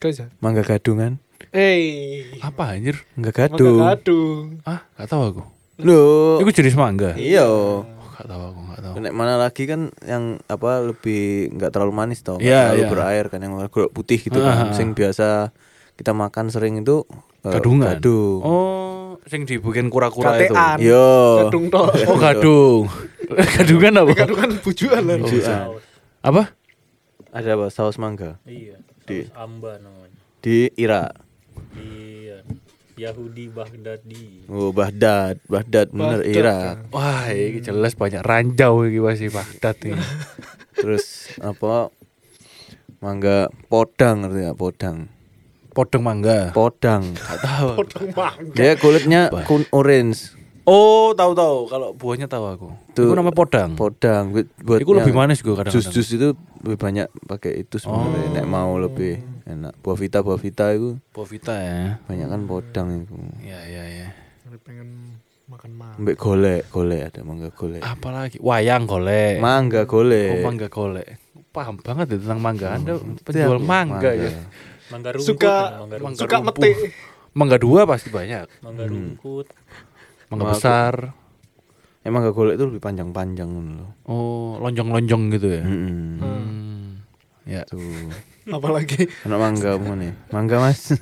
Speaker 2: Kau bisa?
Speaker 3: Mangga gadungan.
Speaker 2: Eh,
Speaker 1: Apa anjir?
Speaker 3: Mangga
Speaker 2: mangga
Speaker 3: gadung.
Speaker 2: gadung.
Speaker 1: Ah, gak tahu aku.
Speaker 3: Loh.
Speaker 1: Itu jenis mangga.
Speaker 3: Iya.
Speaker 1: Oh, gak tahu aku, gak tahu.
Speaker 3: Nek mana lagi kan yang apa lebih nggak terlalu manis tau, nggak
Speaker 1: Iya,
Speaker 3: terlalu
Speaker 1: iya.
Speaker 3: berair kan yang gula putih gitu kan, sing biasa kita makan sering itu eh,
Speaker 1: Gadungan.
Speaker 3: Gadung. Iya.
Speaker 1: Oh, sing dibikin kura-kura itu.
Speaker 2: Gatean.
Speaker 3: Yo.
Speaker 2: Gadung toh.
Speaker 1: Oh, gadung. Gadungan apa?
Speaker 2: Gadung kan bujuan lah.
Speaker 3: Bujukan.
Speaker 4: Saus.
Speaker 1: Apa?
Speaker 3: Ada apa saus mangga
Speaker 4: Iya.
Speaker 3: Di-
Speaker 4: Saus amba namanya.
Speaker 3: di Irak.
Speaker 4: Iya. Yahudi Baghdadi.
Speaker 3: Oh, Baghdad, Baghdad bener
Speaker 2: Baghdad,
Speaker 3: Irak.
Speaker 1: Wah, ini jelas banyak ranjau iki pasti Baghdad ini.
Speaker 3: Terus apa mangga podang ngerti nggak? podang.
Speaker 1: Podeng mangga.
Speaker 3: Podang.
Speaker 1: Gak tahu. aku.
Speaker 3: Oh.
Speaker 2: Podong mangga.
Speaker 3: Dia kulitnya
Speaker 1: ya?
Speaker 3: kun orange.
Speaker 1: Oh, tahu tahu. Kalau buahnya tahu aku.
Speaker 3: Tuh. ya.
Speaker 1: Itu namanya podang.
Speaker 3: Podang buat buat
Speaker 1: Itu Hmm. lebih
Speaker 3: yang-
Speaker 1: manis gue kadang-kadang. Oh.
Speaker 3: Jus-jus itu lebih banyak pakai itu sebenarnya. Nek mau lebih enak. Buah vita, buah vita itu
Speaker 1: Bovita ya.
Speaker 3: banyak kan podang itu.
Speaker 1: Ya ya ya.
Speaker 2: Aku Pengen makan mangga.
Speaker 3: Mbek golek, golek ada mangga golek.
Speaker 1: Apalagi wayang golek.
Speaker 3: Eh.
Speaker 1: Ah,
Speaker 3: Mangga
Speaker 1: Oh,
Speaker 3: golek.
Speaker 1: mangga golek. Paham banget ya tentang mangga. Anda penjual
Speaker 3: Iya,
Speaker 1: mangga, ya.
Speaker 4: Mangga rungkut.
Speaker 2: Suka
Speaker 4: Mangga rungkut.
Speaker 2: suka
Speaker 1: rumpuh.
Speaker 2: metik.
Speaker 1: Mangga dua pasti banyak.
Speaker 4: Mangga rungkut.
Speaker 1: Mangga
Speaker 3: Mangga-
Speaker 1: besar.
Speaker 3: Emang mangga golek itu lebih panjang-panjang ngono loh.
Speaker 1: Oh, lonjong-lonjong gitu ya.
Speaker 3: Hmm. Heeh.
Speaker 1: Hmm. Ya.
Speaker 3: Tuh.
Speaker 2: Apalagi
Speaker 3: Anak ya. mangga apa nih? Mangga Mas.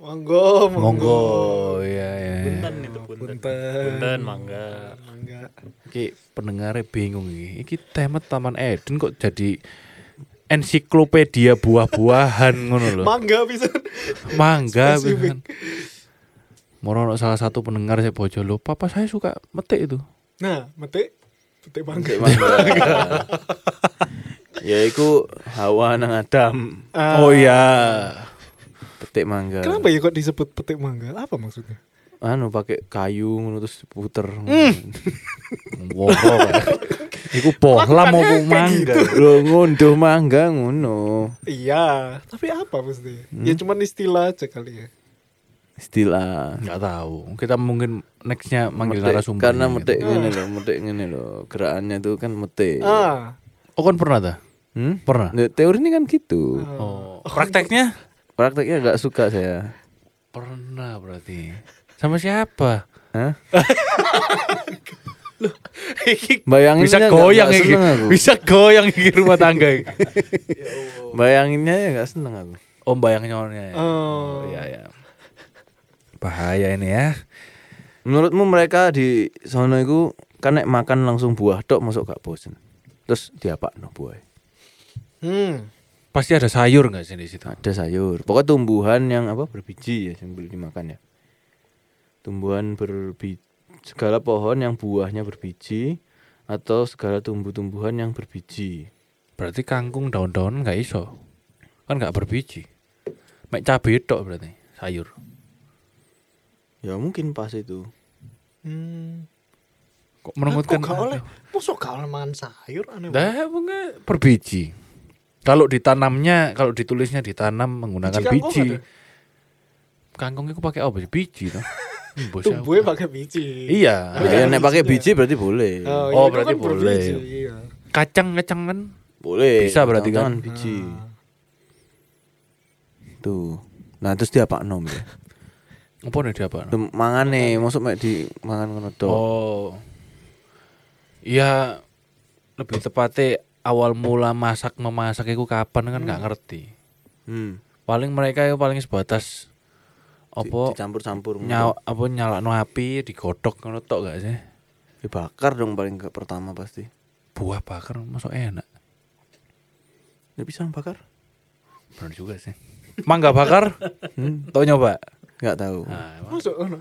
Speaker 2: Monggo, monggo.
Speaker 1: Monggo ya ya.
Speaker 4: Punten itu punten.
Speaker 2: Punten.
Speaker 4: Punten mangga.
Speaker 2: Mangga.
Speaker 1: Iki pendengarnya bingung iki. Iki tema Taman Eden kok jadi ensiklopedia buah-buahan ngono lho.
Speaker 2: Mangga bisa.
Speaker 1: Mangga beneran.
Speaker 2: Spesifik.
Speaker 1: Moro ono salah satu pendengar saya bojo lho, papa saya suka metik itu.
Speaker 2: Nah, metik metik mangga.
Speaker 3: ya iku hawa nang Adam
Speaker 2: Ah,
Speaker 1: oh iya.
Speaker 3: petik mangga
Speaker 2: Kenapa ya kok disebut petik mangga? Apa maksudnya?
Speaker 3: anu pakai kayu ngono terus puter
Speaker 2: Hmm.
Speaker 1: Ngopo. Iku bohlam
Speaker 2: Lakukan
Speaker 1: opo
Speaker 2: kayak
Speaker 1: mangga.
Speaker 3: lo ngunduh mangga ngono
Speaker 2: Iya, tapi apa maksudnya? Ya cuman istilah aja kali ya.
Speaker 3: istilah
Speaker 1: Enggak tahu. Kita mungkin nextnya manggil
Speaker 3: Metik,
Speaker 1: narasumber.
Speaker 3: karena
Speaker 1: gitu.
Speaker 3: metik ngene lho metik ngene lho gerakannya tuh kan metik
Speaker 2: Hmm. Ah,
Speaker 1: Oh kan pernah ta?
Speaker 3: hmm?
Speaker 1: Pernah.
Speaker 3: Nah, teori ini kan gitu
Speaker 2: Ah.
Speaker 1: Oh, prakteknya
Speaker 3: prakteknya nggak suka saya
Speaker 1: pernah berarti. Sama siapa?
Speaker 3: Hah? Bayangin
Speaker 1: bisa
Speaker 3: aja nggak-
Speaker 1: goyang
Speaker 3: nggak
Speaker 1: iki.
Speaker 3: seneng aku.
Speaker 1: Bisa goyang iki rumah tangga. iki.
Speaker 3: bayanginnya ya nggak seneng aku
Speaker 1: Om bayang nyonya. ya?
Speaker 2: Oh.
Speaker 1: iya ya. Bahaya ini ya.
Speaker 3: menurutmu mereka di sono itu kan nek makan langsung buah tok masuk gak bosen terus diapakno buah
Speaker 2: hmm.
Speaker 1: Pasti ada sayur nggak sih di situ?
Speaker 3: ada sayur pokoknya tumbuhan yang apa berbiji ya yang boleh dimakan ya tumbuhan berbiji segala pohon yang buahnya berbiji atau segala tumbuh-tumbuhan yang berbiji
Speaker 1: Berarti kangkung daun-daun nggak iso. Kan nggak berbiji. Mek cabe tok berarti sayur.
Speaker 3: ya mungkin pas itu
Speaker 2: Hmm.
Speaker 1: Kok
Speaker 2: Kok
Speaker 1: merengutkan?
Speaker 2: gak oleh? Masuk gak oleh makan sayur aneh.
Speaker 1: Dah,
Speaker 2: banget.
Speaker 1: bunga per biji. Kalau ditanamnya, kalau ditulisnya ditanam menggunakan
Speaker 2: Biji kangkung
Speaker 1: biji.
Speaker 2: ada?
Speaker 1: Kangkung itu pakai apa? sih? Biji toh. Hmm, bos aku.
Speaker 2: Tumbuhnya pakai biji.
Speaker 1: Iya.
Speaker 2: iya,
Speaker 3: Nah, ya nek pakai biji berarti boleh
Speaker 1: Oh,
Speaker 2: itu
Speaker 1: berarti boleh.
Speaker 2: berbiji, Iya.
Speaker 1: Kacang kacang kan.
Speaker 3: boleh
Speaker 1: Bisa berarti kan?
Speaker 3: Jangan biji
Speaker 2: Hmm. Ah.
Speaker 3: tuh nah terus diapakno Mbak.
Speaker 1: Apa nih dia apa?
Speaker 3: Dem- mangan nih masuk mek di mangan ngono tok
Speaker 1: Oh. Iya lebih tepatnya awal mula masak memasak itu kapan kan nggak ngerti.
Speaker 3: hmm.
Speaker 1: Paling mereka itu paling sebatas
Speaker 3: Di-
Speaker 1: apa
Speaker 3: dicampur-campur ngono
Speaker 1: nyawa apa nyalakno api digodok ngono tok gak sih?
Speaker 3: dibakar dong paling ke pertama pasti
Speaker 1: Buah bakar masuk enak.
Speaker 3: ya bisa bakar
Speaker 1: Benar juga sih. Mangga bakar?
Speaker 3: Hmm.
Speaker 1: Tau nyoba?
Speaker 3: nggak tahu
Speaker 1: Nah, emang-
Speaker 2: Masuk ono.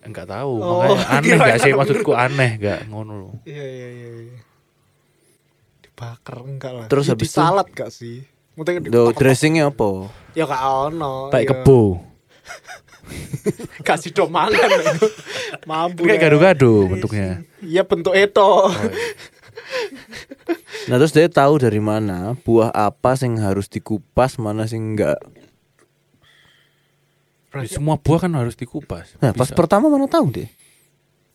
Speaker 1: enggak tahu.
Speaker 2: Oh,
Speaker 1: Makanya aneh
Speaker 2: kira
Speaker 1: gak sih
Speaker 2: tahu.
Speaker 1: maksudku aneh gak ngono lho.
Speaker 2: Iya iya iya. iya. Dibakar enggak lah.
Speaker 3: Terus
Speaker 2: Ya,
Speaker 3: habis
Speaker 2: di
Speaker 3: itu?
Speaker 2: salad gak sih? Mungkin di
Speaker 3: Do dressingnya apa?
Speaker 2: Ya gak ono.
Speaker 1: Tak
Speaker 2: ya.
Speaker 1: kebo. Kan
Speaker 2: Kasih do mangan. Mampu.
Speaker 1: Kayak
Speaker 3: Iya,
Speaker 2: ya.
Speaker 1: gado-gado bentuknya.
Speaker 2: Iya bentuk itu.
Speaker 3: Oh. Nah terus dia tahu dari mana buah apa sing harus dikupas mana sing enggak.
Speaker 1: Semua buah kan harus dikupas.
Speaker 3: iya. Nah pas
Speaker 1: Bisa.
Speaker 3: pertama mana tahu deh.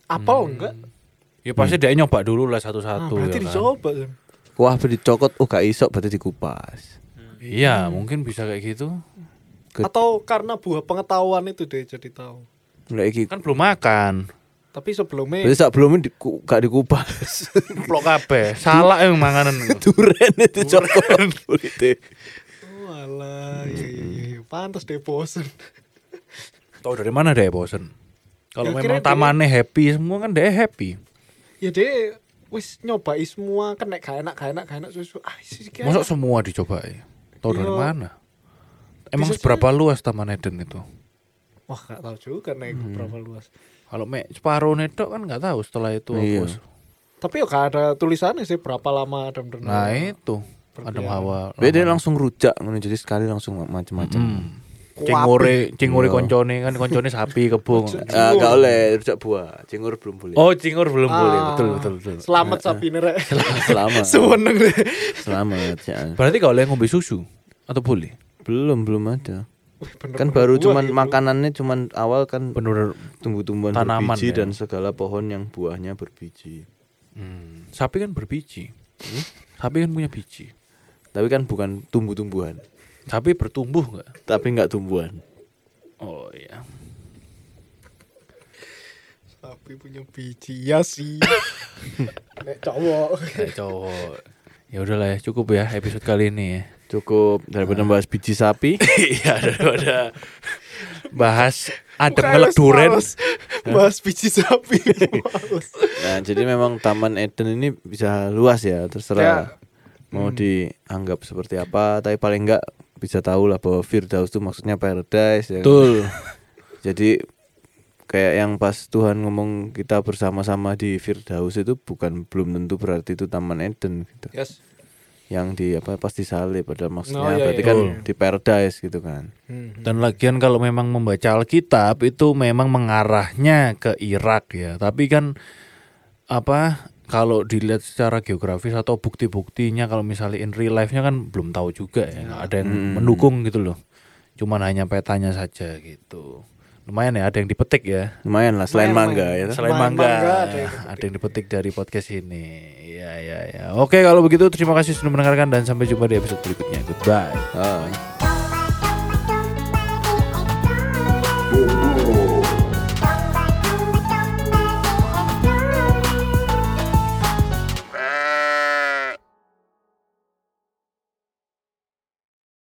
Speaker 2: Apel
Speaker 3: Hmm.
Speaker 2: enggak?
Speaker 1: Ya pasti dia nyoba dulu lah satu-satu
Speaker 2: Ah, berarti
Speaker 1: ya kan.
Speaker 2: dicoba kan.
Speaker 3: Kuah beri cokot, oh gak iso berarti dikupas.
Speaker 1: Iya, mungkin bisa kayak gitu.
Speaker 3: Ke-
Speaker 2: Atau karena buah pengetahuan itu deh jadi tahu.
Speaker 3: Mulai iki.
Speaker 1: Kan belum makan.
Speaker 2: Tapi sebelumnya
Speaker 3: Berarti sak belum di, ku- gak dikupas.
Speaker 1: Plok kabeh. Salah yang manganan. itu.
Speaker 3: Duren itu cokot. Kulite.
Speaker 2: Walah, Oh, iya
Speaker 3: Hmm.
Speaker 2: iya iya, iya. Pantas deh bosen.
Speaker 1: Tahu dari mana deh bosen? Kalau
Speaker 2: Ya,
Speaker 1: memang
Speaker 2: kira dia-
Speaker 1: tamannya happy, semua kan dia happy.
Speaker 2: Ya deh, wis nyobai semua kan nek gak enak gak enak gak enak susu. Ah, sih kayak
Speaker 1: Masuk semua dicoba ya? Tahu dari
Speaker 2: Iya.
Speaker 1: mana? Emang
Speaker 2: Bisa
Speaker 1: seberapa luas Taman Eden itu?
Speaker 2: Wah, gak tahu juga nek
Speaker 3: Hmm.
Speaker 2: berapa luas.
Speaker 1: Kalau mek separuh netok kan nggak tahu setelah itu
Speaker 3: Iya.
Speaker 1: hapus.
Speaker 2: Tapi ya gak ada tulisannya sih berapa lama Adam Ah, Dono.
Speaker 1: Nah itu Nah, ada awal.
Speaker 3: Berarti dia langsung rujak ngono jadi sekali langsung
Speaker 1: Hmm.
Speaker 3: macam-macam.
Speaker 1: Cingure, cingure koncone kan koncone sapi kebo.
Speaker 3: Ah, gak oleh rujak buah, cingur belum boleh.
Speaker 1: Oh cingur belum boleh betul betul betul.
Speaker 2: Selamat sapi nerek.
Speaker 3: Selamat.
Speaker 2: Seneng deh.
Speaker 3: Selamat ya.
Speaker 1: Berarti gak oleh ngombe susu atau boleh?
Speaker 3: Belum belum ada.
Speaker 2: Wih, bener-bener
Speaker 3: Kan baru
Speaker 2: buah
Speaker 3: cuman
Speaker 1: gitu.
Speaker 2: ya, Bu.
Speaker 3: makanannya cuman awal kan
Speaker 1: Bener
Speaker 3: tumbuh-tumbuhan
Speaker 1: Tanaman
Speaker 3: berbiji
Speaker 1: ya.
Speaker 3: dan segala pohon yang buahnya berbiji.
Speaker 1: hmm, sapi kan berbiji. Sapi kan punya biji.
Speaker 3: Tapi kan bukan tumbuh-tumbuhan,
Speaker 1: Sapi bertumbuh nggak?
Speaker 3: tapi nggak tumbuhan.
Speaker 1: Oh iya.
Speaker 2: Sapi punya biji ya sih. nek cowok.
Speaker 1: Kayak cowok. Ya udahlah ya cukup ya episode kali ini ya.
Speaker 3: Cukup daripada membahas biji sapi.
Speaker 1: Iya daripada bahas adem
Speaker 2: Bukan,
Speaker 1: ngelek
Speaker 2: males,
Speaker 1: duren.
Speaker 2: males. Bahas biji sapi. males.
Speaker 3: Nah, jadi memang Taman Eden ini bisa luas ya, terserah
Speaker 2: Ya.
Speaker 3: mau
Speaker 2: Hmm.
Speaker 3: dianggap seperti apa, tapi paling enggak bisa tahu lah bahwa Firdaus itu maksudnya paradise ya. kan?
Speaker 1: Betul.
Speaker 3: Jadi kayak yang pas Tuhan ngomong kita bersama-sama di Firdaus itu bukan belum tentu berarti itu Taman Eden gitu.
Speaker 2: Yes.
Speaker 3: Yang di apa pas disalib pada maksudnya
Speaker 2: Ya. Oh, iya,
Speaker 3: berarti
Speaker 2: iya,
Speaker 3: kan
Speaker 2: iya.
Speaker 3: di paradise gitu kan.
Speaker 2: Hmm.
Speaker 1: Dan lagian kalau memang membaca Alkitab itu memang mengarahnya ke Irak ya. Tapi kan apa kalau dilihat secara geografis atau bukti-buktinya kalau misalnya in real life-nya kan belum tahu juga ya. Nggak ada yang mendukung gitu loh. Cuman hanya petanya saja gitu. Lumayan ya ada yang dipetik ya.
Speaker 3: Lumayan lah selain
Speaker 2: Lumayan,
Speaker 3: mangga ya.
Speaker 2: lumayan.
Speaker 1: Selain
Speaker 2: Bang-
Speaker 1: mangga,
Speaker 2: mangga ada
Speaker 1: ada
Speaker 2: yang
Speaker 1: yang,
Speaker 2: dipetik.
Speaker 1: dipetik dari podcast ini. Iya, Ya ya ya. Oke kalau begitu terima kasih sudah mendengarkan dan sampai jumpa di episode berikutnya. Goodbye.
Speaker 3: Ah.